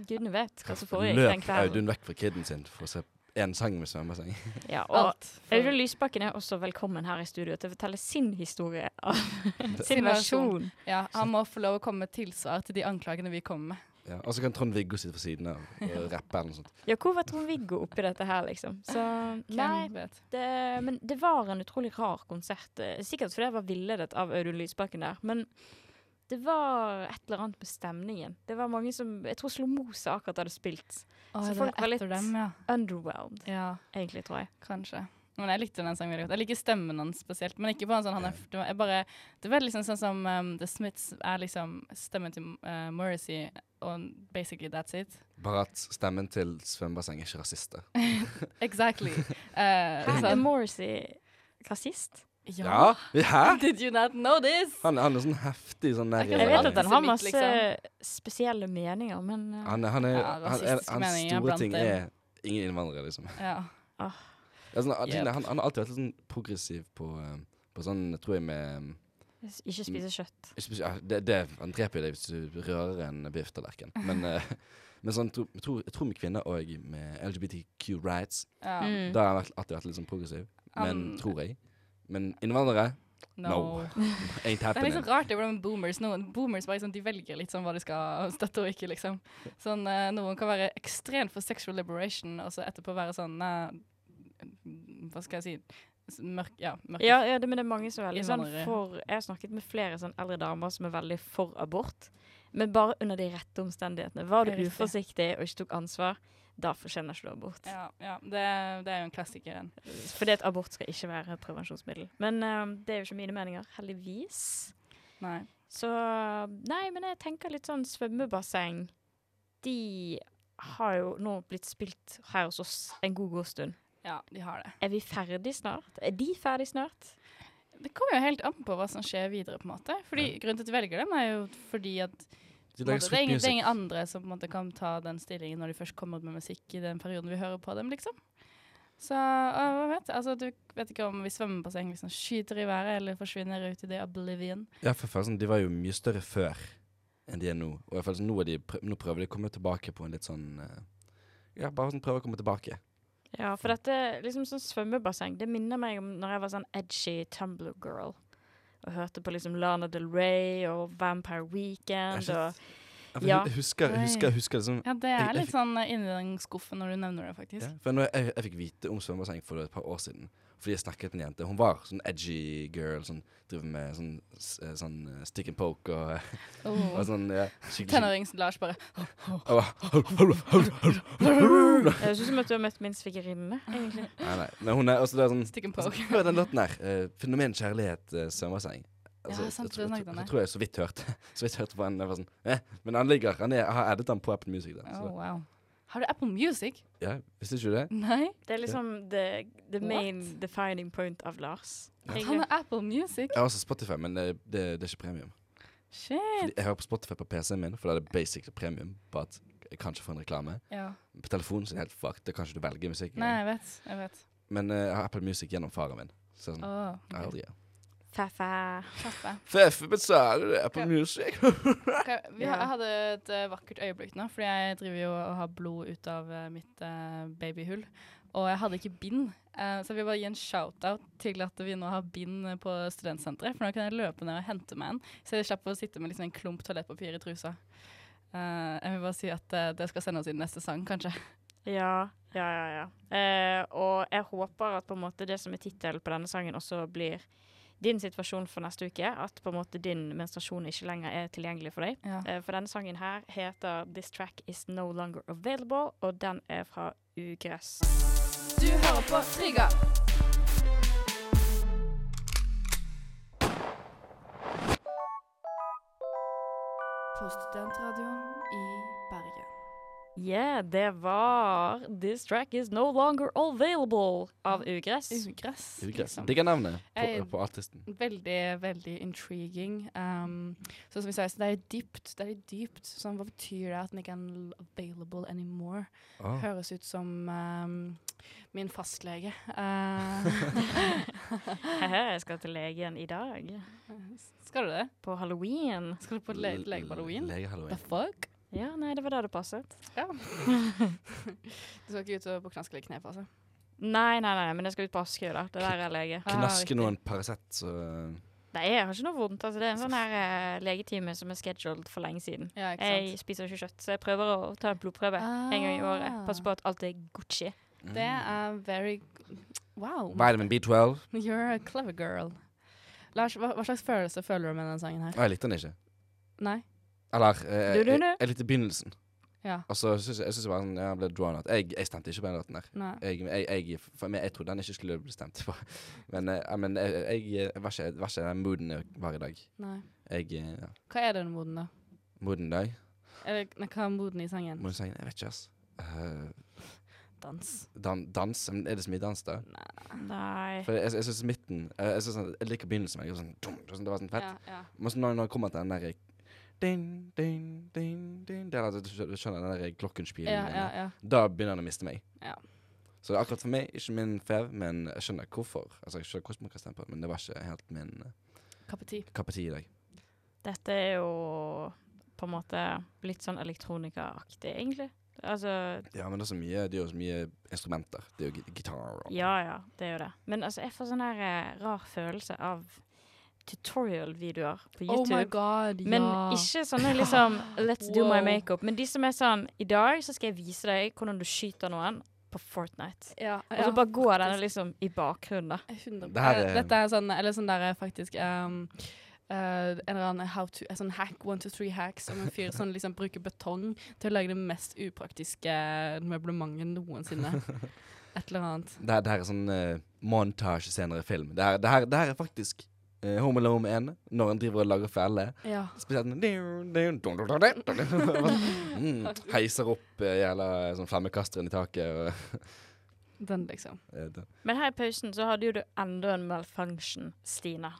[SPEAKER 4] gudene vet hva som foregikk den
[SPEAKER 3] Løp
[SPEAKER 4] kvelden.
[SPEAKER 3] Audun vekk fra kiden sin for å se én sang med svømmebasseng.
[SPEAKER 4] Ja, og
[SPEAKER 5] Alt. for-
[SPEAKER 4] Audun Lysbakken er også velkommen her i studio til å fortelle sin historie av
[SPEAKER 5] Sin
[SPEAKER 4] sin
[SPEAKER 5] versjon.
[SPEAKER 4] versjon.
[SPEAKER 5] Ja, han må få lov å komme med tilsvar til de anklagene vi kommer med.
[SPEAKER 3] Ja, og så kan Trond-Viggo sitte ved siden av og rappe eller noe sånt.
[SPEAKER 4] Ja, hvor var Trond-Viggo oppi dette her, liksom? Så nei,
[SPEAKER 5] Hvem vet?
[SPEAKER 4] det, men det var en utrolig rar konsert. eh, Sikkert fordi jeg var villedet av Audun Lysbakken der, men det var et eller annet med stemningen. Det var mange som Jeg tror Slo Mose akkurat hadde spilt.
[SPEAKER 5] Å,
[SPEAKER 4] Så
[SPEAKER 5] det
[SPEAKER 4] folk
[SPEAKER 5] var
[SPEAKER 4] var
[SPEAKER 5] etter
[SPEAKER 4] litt-
[SPEAKER 5] dem, ja.
[SPEAKER 4] Underwhelmed,
[SPEAKER 5] ja.
[SPEAKER 4] egentlig, tror jeg.
[SPEAKER 5] Kanskje. Men jeg likte den sangen veldig godt. Jeg liker stemmen hans spesielt. Men ikke på en sånn han er, det, var, jeg bare, det var liksom sånn som um, The Smiths er liksom stemmen til uh, Morrissey, og basically that's it.
[SPEAKER 3] Bare at stemmen til svømmebasseng er ikke rasister.
[SPEAKER 5] Exactly. Eh,
[SPEAKER 4] Hæ,
[SPEAKER 5] så-
[SPEAKER 4] er Morrissey rasist?
[SPEAKER 5] ja.
[SPEAKER 3] Ja? vi- Hæ?
[SPEAKER 5] Did you not know this?
[SPEAKER 3] Han, han er sånn heftig sånn der
[SPEAKER 4] Jeg vet
[SPEAKER 5] han
[SPEAKER 4] at han har
[SPEAKER 5] antisemitt,
[SPEAKER 4] masse
[SPEAKER 5] liksom?
[SPEAKER 4] spesielle meninger, men eh,
[SPEAKER 3] han, han er,
[SPEAKER 5] Ja,
[SPEAKER 3] han, er,
[SPEAKER 5] rasistiske
[SPEAKER 3] Hans
[SPEAKER 5] meninger
[SPEAKER 3] store
[SPEAKER 5] blant
[SPEAKER 3] ting
[SPEAKER 5] dem.
[SPEAKER 3] er ingen innvandrere, liksom.
[SPEAKER 5] Ja.
[SPEAKER 3] Det er sånn,
[SPEAKER 5] Yep.
[SPEAKER 3] han, han har alltid vært litt sånn progressiv på, eh, på sånn, tror jeg, med
[SPEAKER 4] ikke spise kjøtt.
[SPEAKER 3] Ikke spes- ja, det, det, han dreper jo deg hvis du rører en biff-tallerken. Men, eh, men sånn, tro, jeg tror- jeg tror med kvinner og med LGBTQ rights
[SPEAKER 5] ja.
[SPEAKER 4] Mm.
[SPEAKER 5] Um,
[SPEAKER 3] Da har han vært- alltid vært litt sånn progressiv. Men
[SPEAKER 5] Han-
[SPEAKER 3] tror jeg. Men innvandrere No. Ain't
[SPEAKER 5] Det er
[SPEAKER 3] happening.
[SPEAKER 5] liksom rart det hvordan boomers noen boomers bare liksom, de velger litt sånn hva de skal støtte og ikke. liksom. Sånn, eh, Noen kan være ekstremt for sexual liberation, og så etterpå være sånn eh, Hva skal jeg si? s- Mørk, ja, mørk.
[SPEAKER 4] Ja, ja det, men det er mange som er veldig sånn
[SPEAKER 5] Innvandrere.
[SPEAKER 4] for Jeg har snakket med flere sånn eldre damer som er veldig for abort, men bare under de rette omstendighetene. Var
[SPEAKER 5] Det
[SPEAKER 4] du
[SPEAKER 5] er riktig.
[SPEAKER 4] uforsiktig og ikke tok ansvar, da fortjener ikke du abort.
[SPEAKER 5] Ja, ja, det, det er jo en klassiker, den.
[SPEAKER 4] Fordi at abort skal ikke være et prevensjonsmiddel. Men eh, det er jo ikke mine meninger, heldigvis.
[SPEAKER 5] Nei.
[SPEAKER 4] Så Nei, men jeg tenker litt sånn svømmebasseng. De har jo nå blitt spilt her hos oss en god god stund.
[SPEAKER 5] Ja, de har det.
[SPEAKER 4] Er vi ferdig snart? Er de ferdig snart?
[SPEAKER 5] Det kommer jo helt an på hva som skjer videre. på en måte. Fordi Grunnen til at de velger dem, er jo fordi at
[SPEAKER 3] De
[SPEAKER 5] på
[SPEAKER 3] lager
[SPEAKER 5] en måte, det, er ingen, det er
[SPEAKER 3] sluttmusikk.
[SPEAKER 5] ingen andre som på en måte, kan ta den stillingen når de først kommer ut med musikk i den perioden vi hører på dem, liksom. Så øh, hva vet jeg? Altså, du vet ikke om vi svømmer på seng, hvis den skyter i været eller forsvinner ut i det oblivion.
[SPEAKER 3] Ja, for faen, sånn, de var jo mye større før enn de er nå. Og i hvert fall, sånn, nå, er de prø nå prøver de å komme tilbake på en litt sånn eh, Ja, bare sånn prøve å komme tilbake.
[SPEAKER 4] Ja, for dette liksom sånn svømmebasseng, det minner meg om når jeg var sånn edgy Tumblr girl. Og hørte på liksom Lana Del Rey og Vampire Weekend
[SPEAKER 3] Jeg
[SPEAKER 4] og
[SPEAKER 3] synes- Jeg
[SPEAKER 4] Ja.
[SPEAKER 3] husker, husker,
[SPEAKER 5] Oi.
[SPEAKER 3] husker det som
[SPEAKER 5] Ja, det
[SPEAKER 3] Jeg-
[SPEAKER 5] er
[SPEAKER 3] jeg
[SPEAKER 5] litt
[SPEAKER 3] fikk-
[SPEAKER 5] sånn øh, inni den skuffen når du nevner det, faktisk.
[SPEAKER 3] ja, For når jeg, jeg fikk vite om svømmebasseng for et par år siden fordi jeg snakket med en jente. Hun var sånn edgy girl. Sånn, driver med sånn, s- eh, sånn eh, stick and poke og, eh,
[SPEAKER 5] Oh.
[SPEAKER 3] og sånn ja, skikkelig
[SPEAKER 5] Tenårings-Lars bare
[SPEAKER 3] skikkelig-
[SPEAKER 4] Det høres ut som at du har møtt min svigerinne, egentlig.
[SPEAKER 3] Nei, nei. Men hun er også det er sånn
[SPEAKER 5] Stick and
[SPEAKER 3] altså,
[SPEAKER 5] poke.
[SPEAKER 3] Hør den låten her. eh, Fenomen kjærlighet uh, svømmerseng.
[SPEAKER 5] Ja, sant,
[SPEAKER 3] jeg,
[SPEAKER 5] det
[SPEAKER 3] tror- jeg,
[SPEAKER 5] snakket han
[SPEAKER 3] tror-
[SPEAKER 5] om.
[SPEAKER 3] jeg tror jeg så vidt hørte Så vidt hørte på han. Jeg var sånn, eh, men han ligger. Han er, jeg har addet han på Apple Music. Der,
[SPEAKER 5] Oh,
[SPEAKER 3] så,
[SPEAKER 5] wow. Har du Apple Music?
[SPEAKER 3] ja, Visste ikke du det?
[SPEAKER 5] Nei.
[SPEAKER 4] Det er liksom the, the
[SPEAKER 5] What?
[SPEAKER 4] main defining point av Lars.
[SPEAKER 5] Han har Apple Music.
[SPEAKER 3] Jeg har også Spotify, men det, det, det er ikke premium.
[SPEAKER 5] Shit.
[SPEAKER 3] Fordi jeg hører på Spotify på PC-en min, for da er det basic og premium. Bare at jeg kan ikke få en reklame.
[SPEAKER 5] Ja.
[SPEAKER 3] På telefonen så er det helt fucked. Da kan ikke du velge musikk.
[SPEAKER 5] Nei,
[SPEAKER 3] engang.
[SPEAKER 5] jeg vet. Jeg vet.
[SPEAKER 3] Men eh, jeg har Apple Music gjennom faren min. Så sånn,
[SPEAKER 5] Åh,
[SPEAKER 3] jeg
[SPEAKER 5] ok.
[SPEAKER 3] aldri er.
[SPEAKER 4] Fa-fa.
[SPEAKER 5] Kaffe.
[SPEAKER 3] Feffe betaler det, Apple
[SPEAKER 5] Ja. Liksom.
[SPEAKER 3] Music.
[SPEAKER 5] Ok, vi
[SPEAKER 4] Ja.
[SPEAKER 5] har, jeg hadde et eh, vakkert øyeblikk nå, fordi jeg driver jo og har blod ut av eh, mitt eh, babyhull. Og jeg hadde ikke bind, eh, så jeg vil bare gi en shout-out til at vi nå har bind eh, på studentsenteret. For nå kan jeg løpe ned og hente meg en, så jeg slipper å sitte med liksom en klump toalettpapir i trusa. Eh, jeg vil bare si at eh, det skal sende oss inn neste sang, kanskje.
[SPEAKER 4] Ja, ja, ja. ja. Eh, og jeg håper at på en måte det som er tittelen på denne sangen, også blir din situasjon for neste uke. At på en måte din menstruasjon ikke lenger er tilgjengelig for deg.
[SPEAKER 5] Ja.
[SPEAKER 4] Eh, for denne sangen her heter 'This Track Is No Longer Available', og den er fra Ugress.
[SPEAKER 5] Du hører på Trigger.
[SPEAKER 2] På Studentradioen i Bergen.
[SPEAKER 4] Yeah, det var 'This Track Is No Longer Available' av Ugress.
[SPEAKER 5] Ugress.
[SPEAKER 3] Ugress.
[SPEAKER 5] liksom.
[SPEAKER 3] Digger navnet på,
[SPEAKER 5] Jeg-
[SPEAKER 3] på artisten.
[SPEAKER 5] Veldig, veldig intriguing. Um, så som vi sa, så det er litt dypt. Det er litt dypt. Sånn, hva betyr det at den ikke er n- available anymore?
[SPEAKER 3] Åh.
[SPEAKER 5] Høres ut som um, min fastlege. Uh, Eh,
[SPEAKER 4] Hehe, jeg skal til legen i dag.
[SPEAKER 5] skal du det?
[SPEAKER 4] På halloween.
[SPEAKER 5] Skal du på le lege på halloween?
[SPEAKER 3] Lege
[SPEAKER 5] The
[SPEAKER 3] Halloween.
[SPEAKER 5] fuck?
[SPEAKER 4] Ja, nei, det var da det passet.
[SPEAKER 5] Ja. du skal ikke ut og på knask eller knep, altså?
[SPEAKER 4] Nei, nei, nei, men jeg skal ut på Askøy, da. Det der er lege.
[SPEAKER 5] Ah,
[SPEAKER 3] Knaske
[SPEAKER 5] riktig.
[SPEAKER 3] noen Paracet, så eh,
[SPEAKER 4] Nei, jeg har ikke noe vondt. Altså, det er en sånn her eh, legetime som er scheduled for lenge siden.
[SPEAKER 5] Ja, ikke sant?
[SPEAKER 4] Jeg spiser ikke kjøtt, så jeg prøver å ta en blodprøve en gang i året. Pass på at alt er Gucci.
[SPEAKER 5] Ah. Det
[SPEAKER 3] Mm.
[SPEAKER 5] er very Wow.
[SPEAKER 3] Vitamin B12.
[SPEAKER 5] You're a clever girl. Lars, hva, hva slags følelse føler du med denne sangen her?
[SPEAKER 3] Å, jeg likte den ikke.
[SPEAKER 5] Nei?
[SPEAKER 3] Eller eh,
[SPEAKER 4] Du, du, du.
[SPEAKER 3] Jeg, jeg likte begynnelsen.
[SPEAKER 5] Ja.
[SPEAKER 3] Og så syns jeg, jeg synes jeg bare sånn, jeg ble drawn out. Jeg, jeg stemte ikke på den låten der.
[SPEAKER 5] Nei.
[SPEAKER 3] Jeg, jeg, jeg, for meg, jeg trodde den ikke skulle bli stemt på. Men, eh, ja, men jeg, jeg, jeg var ikke, jeg var ikke den mooden jeg var i dag.
[SPEAKER 5] Nei.
[SPEAKER 3] Jeg eh, ja.
[SPEAKER 5] Hva er den moden, da?
[SPEAKER 3] Mooden i dag?
[SPEAKER 5] Eller nei, hva er moden i sangen?
[SPEAKER 3] Mooden sangen? Jeg vet ikke, ass. Eh,
[SPEAKER 5] Dans.
[SPEAKER 3] dan, dans? Men Er det så mye dans, da?
[SPEAKER 4] Nei.
[SPEAKER 3] For jeg, jeg syns midten eh, Jeg, synes, sånn- jeg liker begynnelsen. men Jeg, sånn, dum, sånn, det var sånn fett.
[SPEAKER 5] Ja, ja.
[SPEAKER 3] Men så når, når jeg kommer til den der eh, Ding, ding, ding, ding det er, at Du skjø- du skjønner den der eh, klokkenspilen
[SPEAKER 5] ja,
[SPEAKER 3] igjen,
[SPEAKER 5] ja, ja.
[SPEAKER 3] Da begynner den å miste meg
[SPEAKER 5] Ja.
[SPEAKER 3] Så det er akkurat for meg, ikke min fev Men jeg skjønner hvorfor Altså jeg skjønner hvordan man kan stemme på det, Men det var ikke helt min eh,
[SPEAKER 5] Kapati.
[SPEAKER 3] kapati i dag
[SPEAKER 4] Dette er jo på en måte litt sånn elektronikaaktig, egentlig. Altså,
[SPEAKER 3] Ja, men det er så mye Det er jo så mye instrumenter Det er jo gi- gitar og
[SPEAKER 4] Ja, ja, det er jo det. Men altså, jeg får sånn her eh, rar følelse av tutorial-videoer på
[SPEAKER 2] Oh
[SPEAKER 4] YouTube.
[SPEAKER 2] my god, ja.
[SPEAKER 4] Men ikke sånne liksom Let's do my makeup. Men de som er sånn I dag så skal jeg vise deg hvordan du skyter noen på Fortnite.
[SPEAKER 5] Ja,
[SPEAKER 4] Og så bare går denne liksom i bakgrunnen, da.
[SPEAKER 5] 100%.
[SPEAKER 3] Det her er-
[SPEAKER 5] Dette er sånn, eller sånn der er faktisk um, eh, en eller annen how to, en sånn hack, one, two, three hacks om en fyr som liksom bruker betong til å lage det mest upraktiske møblementet noensinne. Et eller annet.
[SPEAKER 3] Det, her- det her er sånn uh, montage senere i film. Det her, det her, det her er faktisk eh, Home Alone 1, når han driver og lager felle.
[SPEAKER 5] Ja.
[SPEAKER 3] Spesielt mm, Heiser opp eh, jævla sånn flammekasteren i taket. Og,
[SPEAKER 5] Den, liksom.
[SPEAKER 3] eh, det-
[SPEAKER 4] Men her i pausen så hadde jo du enda en malfunction, Stina.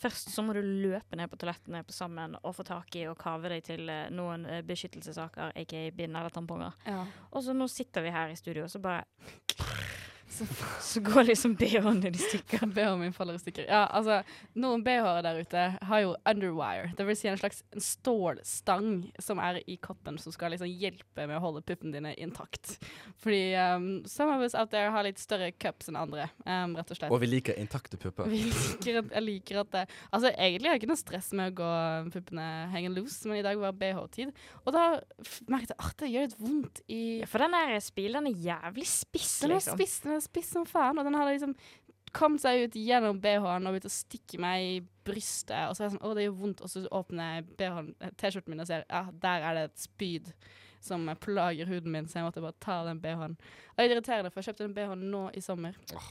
[SPEAKER 4] Først så må du løpe ned på toalettene på sammen og få tak i og kave deg til eh, noen eh, beskyttelsessaker, aka bind eller tamponger.
[SPEAKER 5] Ja.
[SPEAKER 4] Og så nå sitter vi her i studio, og så bare Så går liksom BH-en din i stykker.
[SPEAKER 5] BH-en min faller i stykker. Ja, altså, noen BH-er der ute har jo underwire. Det vil si en slags en stålstang som er i koppen, som skal liksom hjelpe med å holde puppene dine intakt. Fordi um, some of us out there har litt større cups enn andre, um, rett og slett.
[SPEAKER 3] og vi liker intakte pupper.
[SPEAKER 5] Vi liker at, jeg liker at det Altså, egentlig har jeg ikke noe stress med å gå um, puppene hanging loose, men i dag var BH-tid. Og da f- merket jeg at det gjør litt vondt i
[SPEAKER 4] Ja, for den der spilen er jævlig spiss,
[SPEAKER 5] Den er
[SPEAKER 4] liksom.
[SPEAKER 5] spiss, den er spiss som faen, og den hadde liksom kommet seg ut gjennom BH-en og begynt å stikke meg i brystet. Og så er jeg sånn, å, det gjør vondt, og så åpner jeg BH-en, eh, T-skjorten min og ser, ja, der er det et spyd som eh, plager huden min, så jeg måtte bare ta av den BH-en. Og jeg irriterer det, for jeg kjøpte den BH-en nå i sommer. Og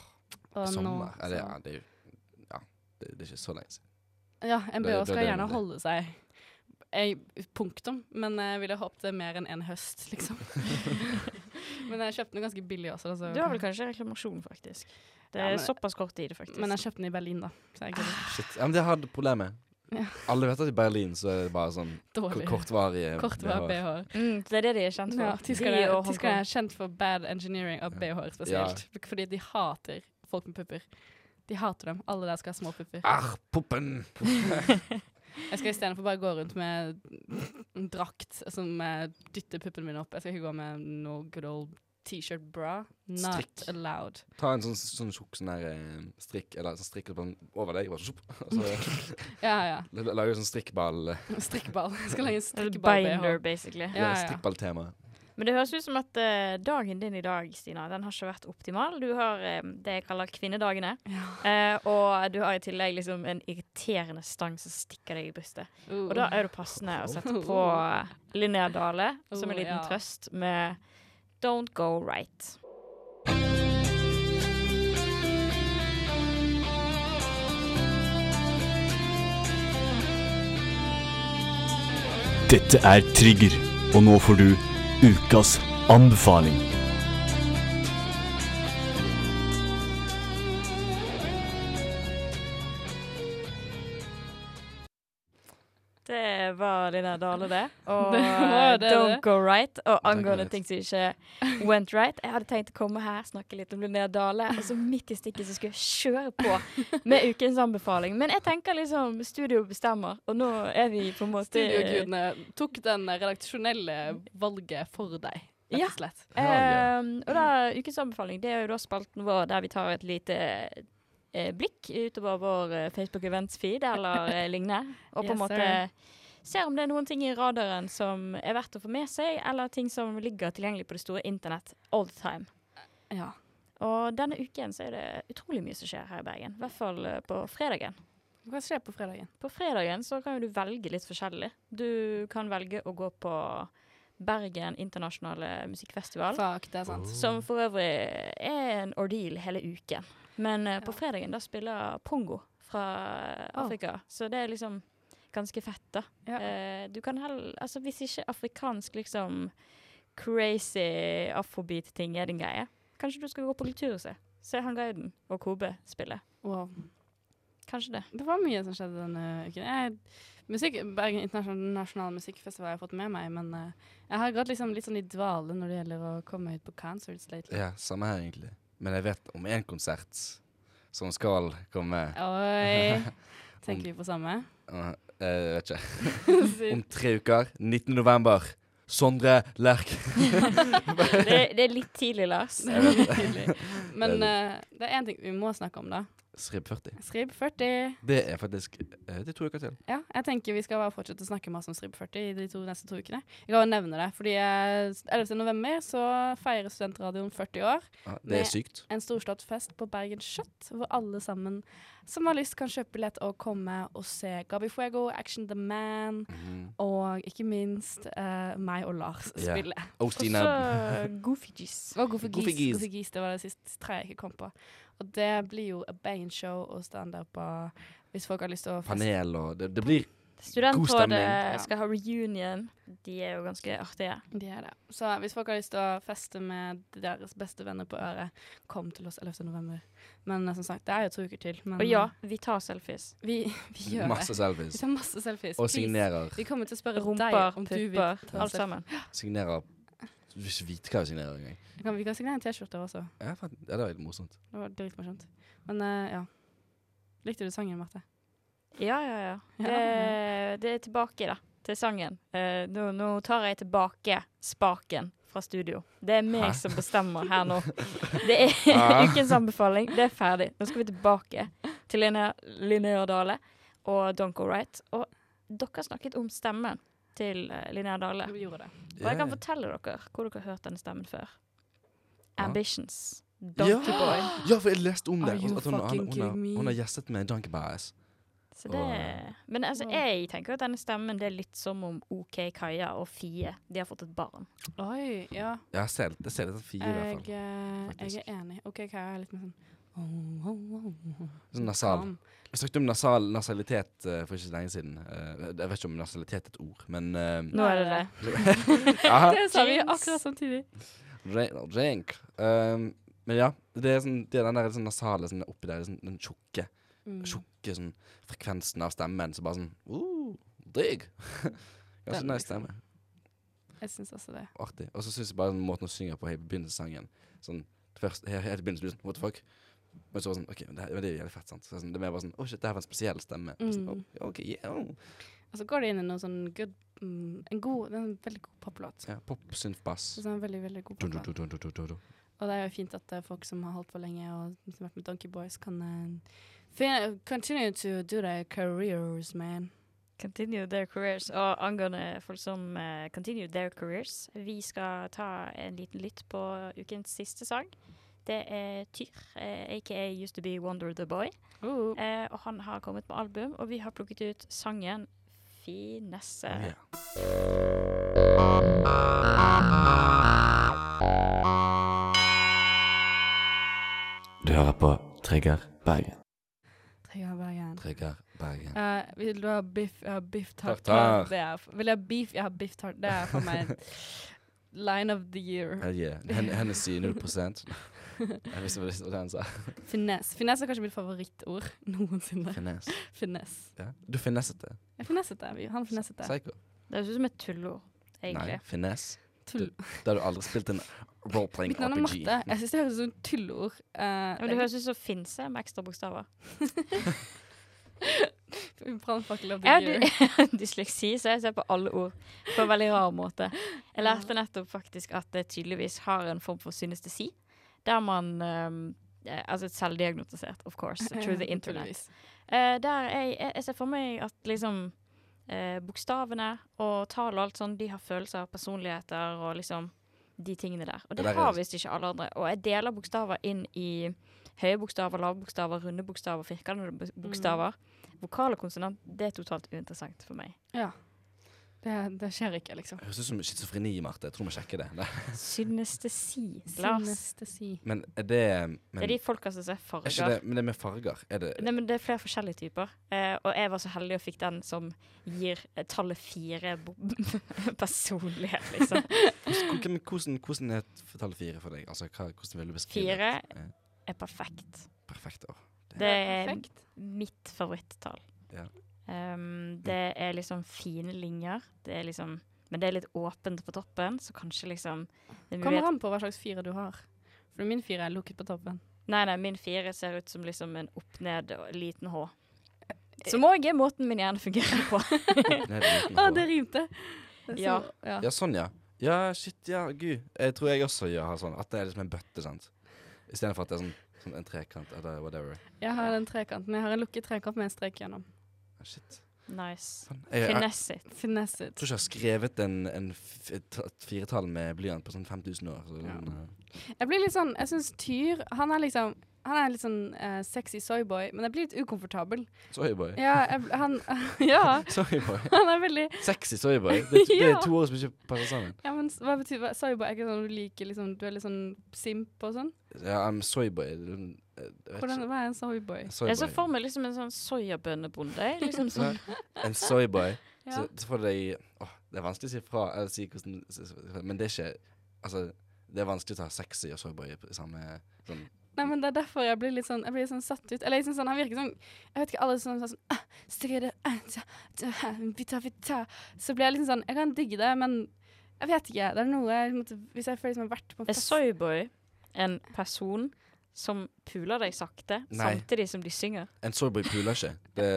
[SPEAKER 5] nå-
[SPEAKER 3] Sommer. Ja, det,
[SPEAKER 5] så-
[SPEAKER 3] ja, det er jo Ja, det, det er ikke så lenge siden.
[SPEAKER 5] ja, en
[SPEAKER 3] Det-
[SPEAKER 5] BH
[SPEAKER 3] det-
[SPEAKER 5] skal
[SPEAKER 3] det-
[SPEAKER 5] gjerne
[SPEAKER 3] det-
[SPEAKER 5] holde seg. Jeg, punktum. Men jeg ville håpet det mer enn en høst, liksom. men jeg kjøpte den ganske billig også. Altså.
[SPEAKER 4] Du har vel kanskje reklamasjon, faktisk. Det
[SPEAKER 5] Ja,
[SPEAKER 4] er
[SPEAKER 5] men-
[SPEAKER 4] såpass kort tid, faktisk.
[SPEAKER 5] Men jeg kjøpte den i Berlin, da. Så jeg er ikke
[SPEAKER 3] Shit. Ja, men det hadde problemet.
[SPEAKER 5] Ja.
[SPEAKER 3] Alle vet at i Berlin så er det bare sånn
[SPEAKER 5] dårlig.
[SPEAKER 3] k- kortvarige
[SPEAKER 5] Kortvarig
[SPEAKER 3] BH.
[SPEAKER 5] BH-er.
[SPEAKER 4] mm, det er det de er kjent for.
[SPEAKER 5] Ja, tyskerne,
[SPEAKER 4] de og
[SPEAKER 5] tyskerne
[SPEAKER 4] Hongkong.
[SPEAKER 5] er kjent for bad engineering av BH-er spesielt. Fordi de hater folk med pupper. De hater dem. Alle der skal ha små pupper.
[SPEAKER 3] Arr, puppen!
[SPEAKER 5] Jeg skal istedenfor bare gå rundt med en drakt som eh, dytter puppen min opp. Jeg skal ikke gå med noe good old T-shirt bra. Not
[SPEAKER 3] Strikk.
[SPEAKER 5] allowed.
[SPEAKER 3] Ta en sånn, sånn tjukk sånn der eh, strikk Eller sånn strikk på den over deg, bare sjopp. og så
[SPEAKER 5] Ja, ja.
[SPEAKER 3] lager du sånn strikkball
[SPEAKER 5] Strikkball. Jeg skal lage en
[SPEAKER 4] Eller
[SPEAKER 5] strikkeball-BH.
[SPEAKER 4] Binder, basically.
[SPEAKER 5] Ja, ja.
[SPEAKER 3] Strikkballtema.
[SPEAKER 4] Men det høres ut som at eh, dagen din i dag, Stina, den har ikke vært optimal. Du har eh, det jeg kaller kvinnedagene. Eh, og du har i tillegg liksom en irriterende stang som stikker deg i brystet.
[SPEAKER 5] Uh.
[SPEAKER 4] Og da er det passende å sette på Linnea Dale som en
[SPEAKER 5] Oh,
[SPEAKER 4] liten
[SPEAKER 5] ja.
[SPEAKER 4] trøst med Don't Go Right.
[SPEAKER 6] Dette er Trigger, og nå får du ukas anbefaling.
[SPEAKER 4] Det var Linnea Dale, det. Og eh,
[SPEAKER 5] Det var det,
[SPEAKER 4] Don't
[SPEAKER 5] det.
[SPEAKER 4] Go Right. Og angående
[SPEAKER 3] Right.
[SPEAKER 4] ting som ikke went right. Jeg hadde tenkt å komme her, snakke litt om Linnea Dale, og så midt i stikket så skulle jeg kjøre på med ukens anbefaling. Men jeg tenker liksom studio bestemmer, og nå er vi på en måte
[SPEAKER 5] Studiogudene tok den redaksjonelle valget for deg, rett
[SPEAKER 4] Ja.
[SPEAKER 5] og slett.
[SPEAKER 3] Ja,
[SPEAKER 4] Ehm, og da, ukens anbefaling det er jo da spalten vår der vi tar et lite eh, blikk utover vår eh, Facebook Events feed eller eh, lignende. Og på en
[SPEAKER 5] Yes,
[SPEAKER 4] måte
[SPEAKER 5] sir.
[SPEAKER 4] ser om det er noen ting i radaren som er verdt å få med seg, eller ting som ligger tilgjengelig på det store internett all the time.
[SPEAKER 5] Ja.
[SPEAKER 4] Og denne uken så er det utrolig mye som skjer her i Bergen. I hvert fall eh, på fredagen.
[SPEAKER 5] Hva skjer på fredagen?
[SPEAKER 4] På fredagen så kan jo du velge litt forskjellig. Du kan velge å gå på Bergen internasjonale musikkfestival.
[SPEAKER 5] Fuck, det er sant.
[SPEAKER 4] Som for øvrig er en ordeal hele uken. Men eh, på fredagen da spiller Pongo fra eh,
[SPEAKER 5] Oh.
[SPEAKER 4] Afrika. Så det er liksom ganske fett, da. Eh, du kan heller Altså hvis ikke afrikansk liksom crazy afrobeat-ting er din greie, kanskje du skal gå på kulturhuset. Se han guiden og Kobe spille.
[SPEAKER 5] Wow.
[SPEAKER 4] Kanskje det.
[SPEAKER 5] Det var mye som skjedde denne uken. Jeg, musikk, Bergen internasjonale musikkfestival har jeg fått med meg, men eh, jeg har gått liksom litt sånn i dvale når det gjelder å komme ut på concerts lately.
[SPEAKER 3] Ja, samme her egentlig. Men jeg vet om én konsert som skal komme
[SPEAKER 5] Oi! Tenker vi på samme?
[SPEAKER 3] uh, Jeg vet ikke. Om tre uker. 19. november. Sondre Lerch.
[SPEAKER 4] Det, det er litt tidlig, Lars.
[SPEAKER 5] Men eh, det er én ting vi må snakke om, da.
[SPEAKER 3] Srib 40.
[SPEAKER 5] Srib 40.
[SPEAKER 3] Det er faktisk eh, Det er to uker til.
[SPEAKER 5] Ja, jeg tenker vi skal bare fortsette å snakke masse om Strib 40 i de to neste to ukene. Jeg kan jo nevne det, fordi eh, 11. november så feirer Studentradioen 40 år.
[SPEAKER 3] Ja, det
[SPEAKER 5] Med-
[SPEAKER 3] er sykt.
[SPEAKER 5] En storslått fest på Bergen Skjøtt, hvor alle sammen som har lyst kan kjøpe billett og komme og se Gabi Fuego, Action The Man
[SPEAKER 3] Mhm.
[SPEAKER 5] og ikke minst eh, meg og Lars
[SPEAKER 3] Ja.
[SPEAKER 5] spille.
[SPEAKER 3] Og
[SPEAKER 4] Også
[SPEAKER 3] Stina
[SPEAKER 4] Goofy Juice.
[SPEAKER 5] Og Goofy
[SPEAKER 3] Goofy
[SPEAKER 5] Geese.
[SPEAKER 3] Geese.
[SPEAKER 5] Goofy Geese, det var det siste tre jeg ikke kom på. Og det blir jo a banging show og standup og hvis folk har lyst til å feste.
[SPEAKER 3] Panel og det, det blir stemning.
[SPEAKER 4] Studentrådet skal ha reunion. De er jo ganske artige.
[SPEAKER 5] De er det. Så hvis folk har lyst til å feste med deres beste venner på øret, kom til oss 11. november. Men eh, som sagt, det er jo to uker til. Men
[SPEAKER 4] Og ja, vi tar selfies.
[SPEAKER 5] vi, vi gjør
[SPEAKER 3] masse
[SPEAKER 5] det. Vi
[SPEAKER 3] selfies.
[SPEAKER 5] tar masse selfies.
[SPEAKER 3] Og
[SPEAKER 5] please.
[SPEAKER 3] signerer.
[SPEAKER 5] Vi kommer til å spørre
[SPEAKER 4] Rumper,
[SPEAKER 5] deg om du vil.
[SPEAKER 4] pupper,
[SPEAKER 5] ta
[SPEAKER 4] alt
[SPEAKER 5] selfie.
[SPEAKER 4] sammen.
[SPEAKER 3] Signerer Du vil ikke vite hva jeg signerer engang.
[SPEAKER 5] Vi kan, vi kan signere en T-skjorte også.
[SPEAKER 3] Ja, faen, ja, det var litt morsomt.
[SPEAKER 5] Det var dritmorsomt. Men eh, ja. Likte du sangen, Marte?
[SPEAKER 4] Ja, ja, ja.
[SPEAKER 5] Ja,
[SPEAKER 4] Det, det er tilbake, da. Til sangen. Eh, nå, nå tar jeg tilbake spaken fra studio. Det er meg
[SPEAKER 3] Hæ?
[SPEAKER 4] som bestemmer her nå. Det er
[SPEAKER 3] Ah.
[SPEAKER 4] ukens anbefaling. Det er ferdig. Nå skal vi tilbake til Linnea, Linnea Dale og Don't Go Right. Og dere snakket om stemmen til eh, Linnea Dale.
[SPEAKER 5] Vi gjorde det.
[SPEAKER 4] Og jeg kan fortelle dere hvor dere har hørt denne stemmen før. Ambitions. Donkey Boy.
[SPEAKER 3] Ja, for jeg leste om det.
[SPEAKER 5] Are you
[SPEAKER 3] At hun, har-
[SPEAKER 5] fucking
[SPEAKER 3] hun, har-
[SPEAKER 5] kidding me?
[SPEAKER 3] hun har gjestet med Donkey Bass.
[SPEAKER 4] Så det,
[SPEAKER 3] Og-
[SPEAKER 4] men altså, jeg tenker at denne stemmen det er litt som om OK Kaja og Fie de har fått et barn.
[SPEAKER 5] Oi, ja.
[SPEAKER 3] Ja, jeg ser det. Jeg ser det til fire, i hvert
[SPEAKER 5] Jeg,
[SPEAKER 3] fall.
[SPEAKER 5] eh, jeg
[SPEAKER 3] faktisk.
[SPEAKER 5] er enig. OK, Kaja er litt mer sånn oh, oh, oh, oh.
[SPEAKER 3] Sånn nasal.
[SPEAKER 5] Calm.
[SPEAKER 3] Vi snakket om nasal, nasalitet eh, for ikke så lenge siden. Eh, jeg vet ikke om nasalitet er et ord, men eh,
[SPEAKER 4] Nå er det det.
[SPEAKER 3] aha,
[SPEAKER 5] Det sa vi
[SPEAKER 4] Jinx.
[SPEAKER 5] akkurat samtidig.
[SPEAKER 3] re- Drink. Um, men ja, det er, sånn, det er den der sånn nasale sånn oppi der, sånn, den tjukke,
[SPEAKER 5] Mm.
[SPEAKER 3] tjukke sånn, frekvensen av stemmen. Så bare sånn uh, Digg! Ganske
[SPEAKER 5] Den,
[SPEAKER 3] nice
[SPEAKER 5] liksom.
[SPEAKER 3] stemme.
[SPEAKER 5] Jeg syns også det.
[SPEAKER 3] Artig. Og så syns jeg bare sånn, måten hun synger på helt i begynnelsen av sangen sånn, først, Helt helt i begynnelsen blir det sånn What the fuck? Men så var det sånn OK, men det, her- men det er jo jævlig fett, sant? Så det er sånn, det er mer bare sånn Å, shit, det her var en spesiell stemme. Og Sånn,
[SPEAKER 5] Mm.
[SPEAKER 3] «Å, OK, yeah. oh».
[SPEAKER 5] Og så går det inn i noe sånn good mm, En god, det er en veldig god poplåt.
[SPEAKER 3] Ja, Pop, synth, bass.
[SPEAKER 5] Så det er en veldig, veldig god
[SPEAKER 3] Dun, dun,
[SPEAKER 5] poplåt.
[SPEAKER 3] dun, dun, dun, dun, dun.
[SPEAKER 5] Og det er jo fint at det er folk som har holdt på lenge og som har vært med Donkey Boys, kan eh, fin- Continue to do their careers, man.
[SPEAKER 4] Continue their careers. Og angående folk som eh, continue their careers, vi skal ta en liten lytt på ukens siste sang. Det er Tyr, eh, aka Used To Be Wonder The Boy.
[SPEAKER 5] Oh.
[SPEAKER 4] Eh, og han har kommet med album, og vi har plukket ut sangen Finesse.
[SPEAKER 3] Ja. Du hører på Trigger Bergen.
[SPEAKER 5] Trigger Bergen.
[SPEAKER 3] Trigger Bergen.
[SPEAKER 5] Eh, vil du ha biff? Jeg har biff tartar.
[SPEAKER 3] Tartar.
[SPEAKER 5] Det er, f- vil jeg ha beef? Jeg har biff tartar. Det er for meg line of the year.
[SPEAKER 3] Hell yeah. Hen Hennessy 0 Jeg visste hva det var det han sa.
[SPEAKER 5] Finesse. Finesse er kanskje mitt favorittord noensinne.
[SPEAKER 3] Finesse.
[SPEAKER 5] Finesse.
[SPEAKER 3] Ja. Du finesset det.
[SPEAKER 5] Jeg finesset det. vi- Han finesset det.
[SPEAKER 3] Psycho.
[SPEAKER 4] Det høres ut som et tulleord, egentlig.
[SPEAKER 3] Nei, finesse.
[SPEAKER 5] Tull.
[SPEAKER 3] Da har du aldri spilt en role-playing
[SPEAKER 5] Mitt navn er
[SPEAKER 3] RPG.
[SPEAKER 5] Marte. Jeg syns det høres ut som tulleord. Eh,
[SPEAKER 4] Ja, Men det høres ut som finse med ekstra bokstaver.
[SPEAKER 5] Brannfakkel of the
[SPEAKER 4] Jeg
[SPEAKER 5] year.
[SPEAKER 4] har dy- dysleksi, så jeg ser på alle ord på en veldig rar måte. Jeg lærte nettopp faktisk at det tydeligvis har en form for synestesi, der man ehm, eh, Altså selvdiagnostisert, of course, through the
[SPEAKER 5] Ja,
[SPEAKER 4] internet.
[SPEAKER 5] naturligvis.
[SPEAKER 4] Eh, der jeg, jeg, jeg ser for meg at liksom eh, bokstavene og tall og alt sånn, de har følelser, personligheter og liksom de tingene der. Og det
[SPEAKER 3] Det der er-
[SPEAKER 4] har visst ikke alle andre. Og jeg deler bokstaver inn i høye bokstaver, lave bokstaver, runde bokstaver, firkantede bo- bokstaver.
[SPEAKER 5] Mm.
[SPEAKER 4] Vokal og konsonant, det er totalt uinteressant for meg.
[SPEAKER 5] Ja. Det, det skjer ikke, liksom.
[SPEAKER 3] Det Høres ut som schizofreni, Marte. Jeg tror vi sjekker det. Nei.
[SPEAKER 4] Synestesi, Lars.
[SPEAKER 5] Synestesi.
[SPEAKER 3] Men er det
[SPEAKER 4] Det
[SPEAKER 3] men,
[SPEAKER 4] er de folka som ser
[SPEAKER 3] er ikke det,
[SPEAKER 4] farger.
[SPEAKER 3] men det er med farger. Er det
[SPEAKER 4] Nei, men Det er flere forskjellige typer, eh, og jeg var så heldig og fikk den som gir eh, tallet fire bo- personlighet, liksom.
[SPEAKER 3] Hvordan, hvordan, hvordan er tallet fire for deg? Altså, hva, hvordan vil du beskrive
[SPEAKER 4] Fire
[SPEAKER 3] det? Eh,
[SPEAKER 4] er perfekt.
[SPEAKER 3] Perfekt år.
[SPEAKER 4] Det er
[SPEAKER 5] perfekt.
[SPEAKER 4] mitt favorittall.
[SPEAKER 3] Ja.
[SPEAKER 4] Ehm, det er liksom fine linjer. Det er liksom, men det er litt åpent på toppen, så kanskje liksom det er
[SPEAKER 5] Kommer
[SPEAKER 4] mulighet.
[SPEAKER 5] an på hva slags fire du har. For min fire er lukket på toppen.
[SPEAKER 4] Nei, nei, min fire ser ut som liksom en opp-ned og liten H.
[SPEAKER 5] Eh,
[SPEAKER 4] Som òg er måten min hjerne fungerer på.
[SPEAKER 3] Ned uten
[SPEAKER 5] Å,
[SPEAKER 3] hår.
[SPEAKER 5] det rimte! Det er så-
[SPEAKER 4] Ja.
[SPEAKER 5] ja.
[SPEAKER 3] Ja, sånn, ja. Ja, shit, ja, gud. Jeg tror jeg også gjør har sånn. At det er liksom en bøtte, sant. Istedenfor at det er sånn Sånn en trekant eller whatever.
[SPEAKER 5] Jeg har den trekanten. Jeg har en lukket trekant med en strek gjennom.
[SPEAKER 3] Ah, shit.
[SPEAKER 4] Nice.
[SPEAKER 3] Faen. Jeg, jeg, jeg,
[SPEAKER 4] Finesse it.
[SPEAKER 5] Finesse it.
[SPEAKER 3] tror ikke jeg har skrevet en, en f- et ta- et firetall med blyant på sånn 5000 år. Så,
[SPEAKER 5] Ja.
[SPEAKER 3] sånn, eh,
[SPEAKER 5] Jeg blir litt sånn, jeg syns Tyr Han er liksom han er litt sånn eh, sexy soyboy, men jeg blir litt ukomfortabel.
[SPEAKER 3] Soyboy.
[SPEAKER 5] Ja, jeg, bl- han, ja,
[SPEAKER 3] Soyboy.
[SPEAKER 5] han er veldig
[SPEAKER 3] Sexy soyboy. Det, det er
[SPEAKER 5] Ja.
[SPEAKER 3] to ord som ikke passer sammen.
[SPEAKER 5] Ja, men s- hva betyr hva- soyboy? Er ikke sånn du liker liksom Du er litt sånn simp og sånn?
[SPEAKER 3] Ja, I'm soyboy. eh, Jeg vet
[SPEAKER 5] Hvordan,
[SPEAKER 3] ikke.
[SPEAKER 5] hva er en soyboy?
[SPEAKER 3] Soyboy.
[SPEAKER 4] Jeg så for meg liksom en sånn soyabønnebonde. jeg. Liksom sånn.
[SPEAKER 3] En soyboy.
[SPEAKER 5] Ja.
[SPEAKER 3] Så, så får du deg åh, Det er vanskelig å si fra, eller si hvordan s- s- Men det er ikke Altså, det er vanskelig å ta sexy og soyboy i samme sånn
[SPEAKER 5] Nei, men det er derfor jeg blir litt sånn Jeg blir litt sånn satt ut. Eller jeg synes sånn, han virker sånn Jeg vet ikke, alle sånn sånn, sånn ah, stride, ah, ta, ta, vita, vita. Så blir jeg liksom sånn Jeg kan digge det, men jeg vet ikke. Det er noe jeg måtte, Hvis jeg føler som jeg har vært på en
[SPEAKER 4] Er soyboy en person som puler deg sakte,
[SPEAKER 3] Nei.
[SPEAKER 4] samtidig som de synger?
[SPEAKER 3] En soyboy puler ikke. Det,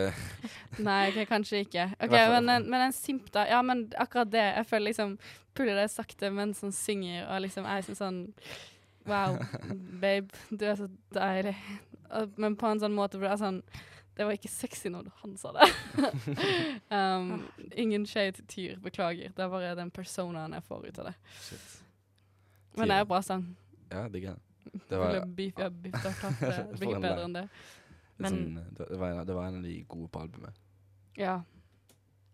[SPEAKER 5] Nei, ok, kanskje ikke. Ok,
[SPEAKER 3] hvert fall-
[SPEAKER 5] men, en- men en simp, da. Ja, men akkurat det. Jeg føler liksom Puller det sakte mens han synger, og liksom er liksom sånn Wow, babe, du er så deilig. Og- Men på en sånn måte hvor det er sånn Det var ikke sexy når han sa det.
[SPEAKER 3] Ah.
[SPEAKER 5] um, ingen shade til Tyr, beklager. Det er bare den personaen jeg får ut av det.
[SPEAKER 3] shit.
[SPEAKER 5] Men det er en bra sang.
[SPEAKER 3] Ja, digger det. Det var,
[SPEAKER 5] Ville beef, ja, beef, da, tatt det. det blir ikke bedre enn det.
[SPEAKER 4] Men-
[SPEAKER 3] sånn, det, var en, det var en av de gode på albumet.
[SPEAKER 5] Ja.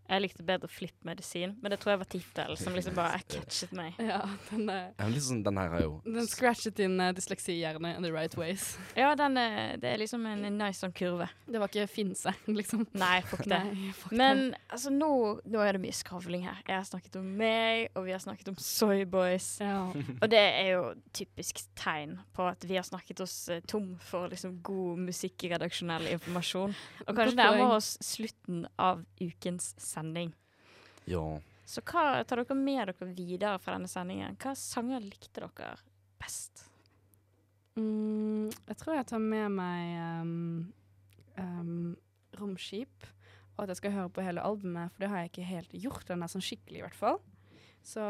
[SPEAKER 4] Jeg likte bedre flippmedisin, men det tror jeg var tittelen som liksom bare jeg catchet meg.
[SPEAKER 5] ja den, er,
[SPEAKER 3] Ja, men litt sånn, den her har jo
[SPEAKER 5] den scratchet din uh, dysleksi-hjerne in the right ways.
[SPEAKER 4] Ja, den er, det er liksom en, en nice sånn kurve.
[SPEAKER 5] Det var ikke finse, liksom.
[SPEAKER 4] Nei, fuck det.
[SPEAKER 5] Nei, fuck det.
[SPEAKER 4] Men altså, nå, nå er det mye skravling her. Jeg har snakket om meg, og vi har snakket om Soyboys.
[SPEAKER 5] Ja.
[SPEAKER 4] Og det er jo typisk tegn på at vi har snakket oss eh, tom for liksom god musikkredaksjonell informasjon. Og
[SPEAKER 5] Godt
[SPEAKER 4] kanskje
[SPEAKER 5] poeng.
[SPEAKER 4] nærmer oss slutten av ukens sending.
[SPEAKER 3] Ja.
[SPEAKER 4] Så hva tar dere med dere videre fra denne sendingen? Hva sanger likte dere best?
[SPEAKER 5] Mm, jeg tror jeg tar med meg ehm, ehm, Romskip, og at jeg skal høre på hele albumet, for det har jeg ikke helt gjort den er sånn skikkelig, i hvert fall. Så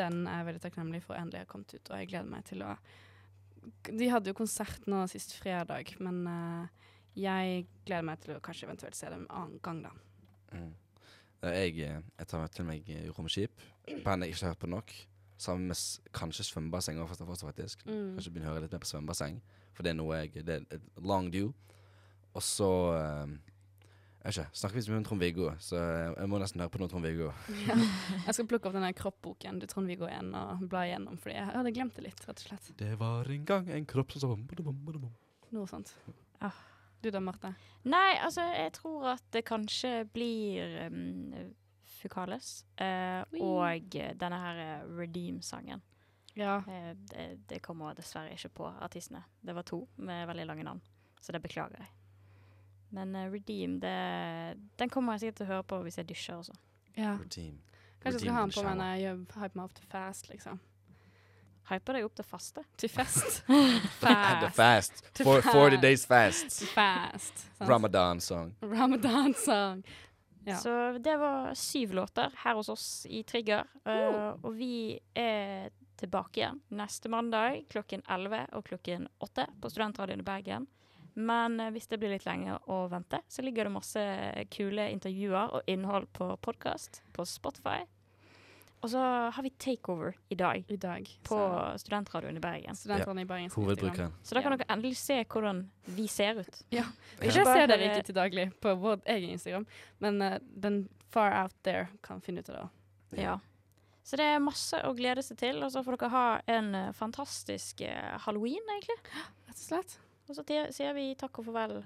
[SPEAKER 5] den er jeg veldig takknemlig for endelig har kommet ut, og jeg gleder meg til å De hadde jo konsert nå sist fredag, men eh, jeg gleder meg til å kanskje eventuelt se dem en annen gang, da.
[SPEAKER 3] Mm. Ja, Jeg, eh, jeg tar til meg eh, Romskip. Band jeg ikke har hørt på nok. Sammen med s- kanskje svømmebasseng også, faktisk. faktisk.
[SPEAKER 5] Mm.
[SPEAKER 4] Mm.
[SPEAKER 3] Kanskje begynne å høre litt mer på svømmebasseng, for det er noe jeg Det er et long due. Og så eh, Jeg vet ikke. Snakker vi så mye om Trond-Viggo, så jeg må nesten høre på noe Trond-Viggo.
[SPEAKER 5] Jeg skal plukke opp den der kroppboken du Trond-Viggo igjen og bla igjennom, fordi jeg hadde glemt det litt, rett og slett.
[SPEAKER 3] Det var en gang en kropp som sa bom, bom, bom, bom, bom.
[SPEAKER 5] Noe sånt.
[SPEAKER 4] Ah.
[SPEAKER 5] Du da, Marte?
[SPEAKER 4] Nei, altså, jeg tror at det kanskje blir um, Fukales. eh,
[SPEAKER 5] Ui.
[SPEAKER 4] og eh, denne her eh, Redeem-sangen.
[SPEAKER 5] Ja.
[SPEAKER 4] Eh, det, det kommer dessverre ikke på artistene. Det var to med veldig lange navn, så det beklager jeg. Men eh, Redeem, det, den kommer jeg sikkert til å høre på hvis jeg dusjer også.
[SPEAKER 5] ja.
[SPEAKER 3] Routine.
[SPEAKER 5] Kanskje
[SPEAKER 3] Redeem
[SPEAKER 5] jeg skal ha den
[SPEAKER 3] the
[SPEAKER 5] på meg
[SPEAKER 3] shower.
[SPEAKER 5] når jeg gjør hype meg opp til fast, liksom.
[SPEAKER 4] Hyper deg opp til faste.
[SPEAKER 5] Til fest.
[SPEAKER 3] The
[SPEAKER 5] fast.
[SPEAKER 3] fast.
[SPEAKER 5] The
[SPEAKER 3] For, 40
[SPEAKER 5] fast.
[SPEAKER 3] days fast.
[SPEAKER 5] fast. sant?
[SPEAKER 3] Ramadan-sang.
[SPEAKER 5] Ramadan song. Ja.
[SPEAKER 4] Så det var syv låter her hos oss i Trigger. Eh, og vi er tilbake igjen neste mandag klokken 11 og klokken 8 på Studentradioen i Bergen. Men eh, hvis det blir litt lenger å vente, så ligger det masse kule intervjuer og innhold på podkast på Spotify. Og så har vi takeover i dag
[SPEAKER 5] I dag.
[SPEAKER 4] på Studentradioen i Bergen.
[SPEAKER 5] så studentene i Bergen. skal til
[SPEAKER 3] Hovedbrukeren.
[SPEAKER 4] Så da kan dere endelig se hvordan vi ser ut.
[SPEAKER 5] Instagram. Ikke
[SPEAKER 4] Bare
[SPEAKER 5] se dere
[SPEAKER 4] høre-
[SPEAKER 5] ikke til daglig på vår egen Instagram, men eh, den far out there kan finne ut av det. også.
[SPEAKER 4] Ja. Så det er masse å glede seg til, og så får dere ha en eh, fantastisk eh, halloween, egentlig.
[SPEAKER 5] Rett og slett.
[SPEAKER 4] Og så te- sier vi takk og farvel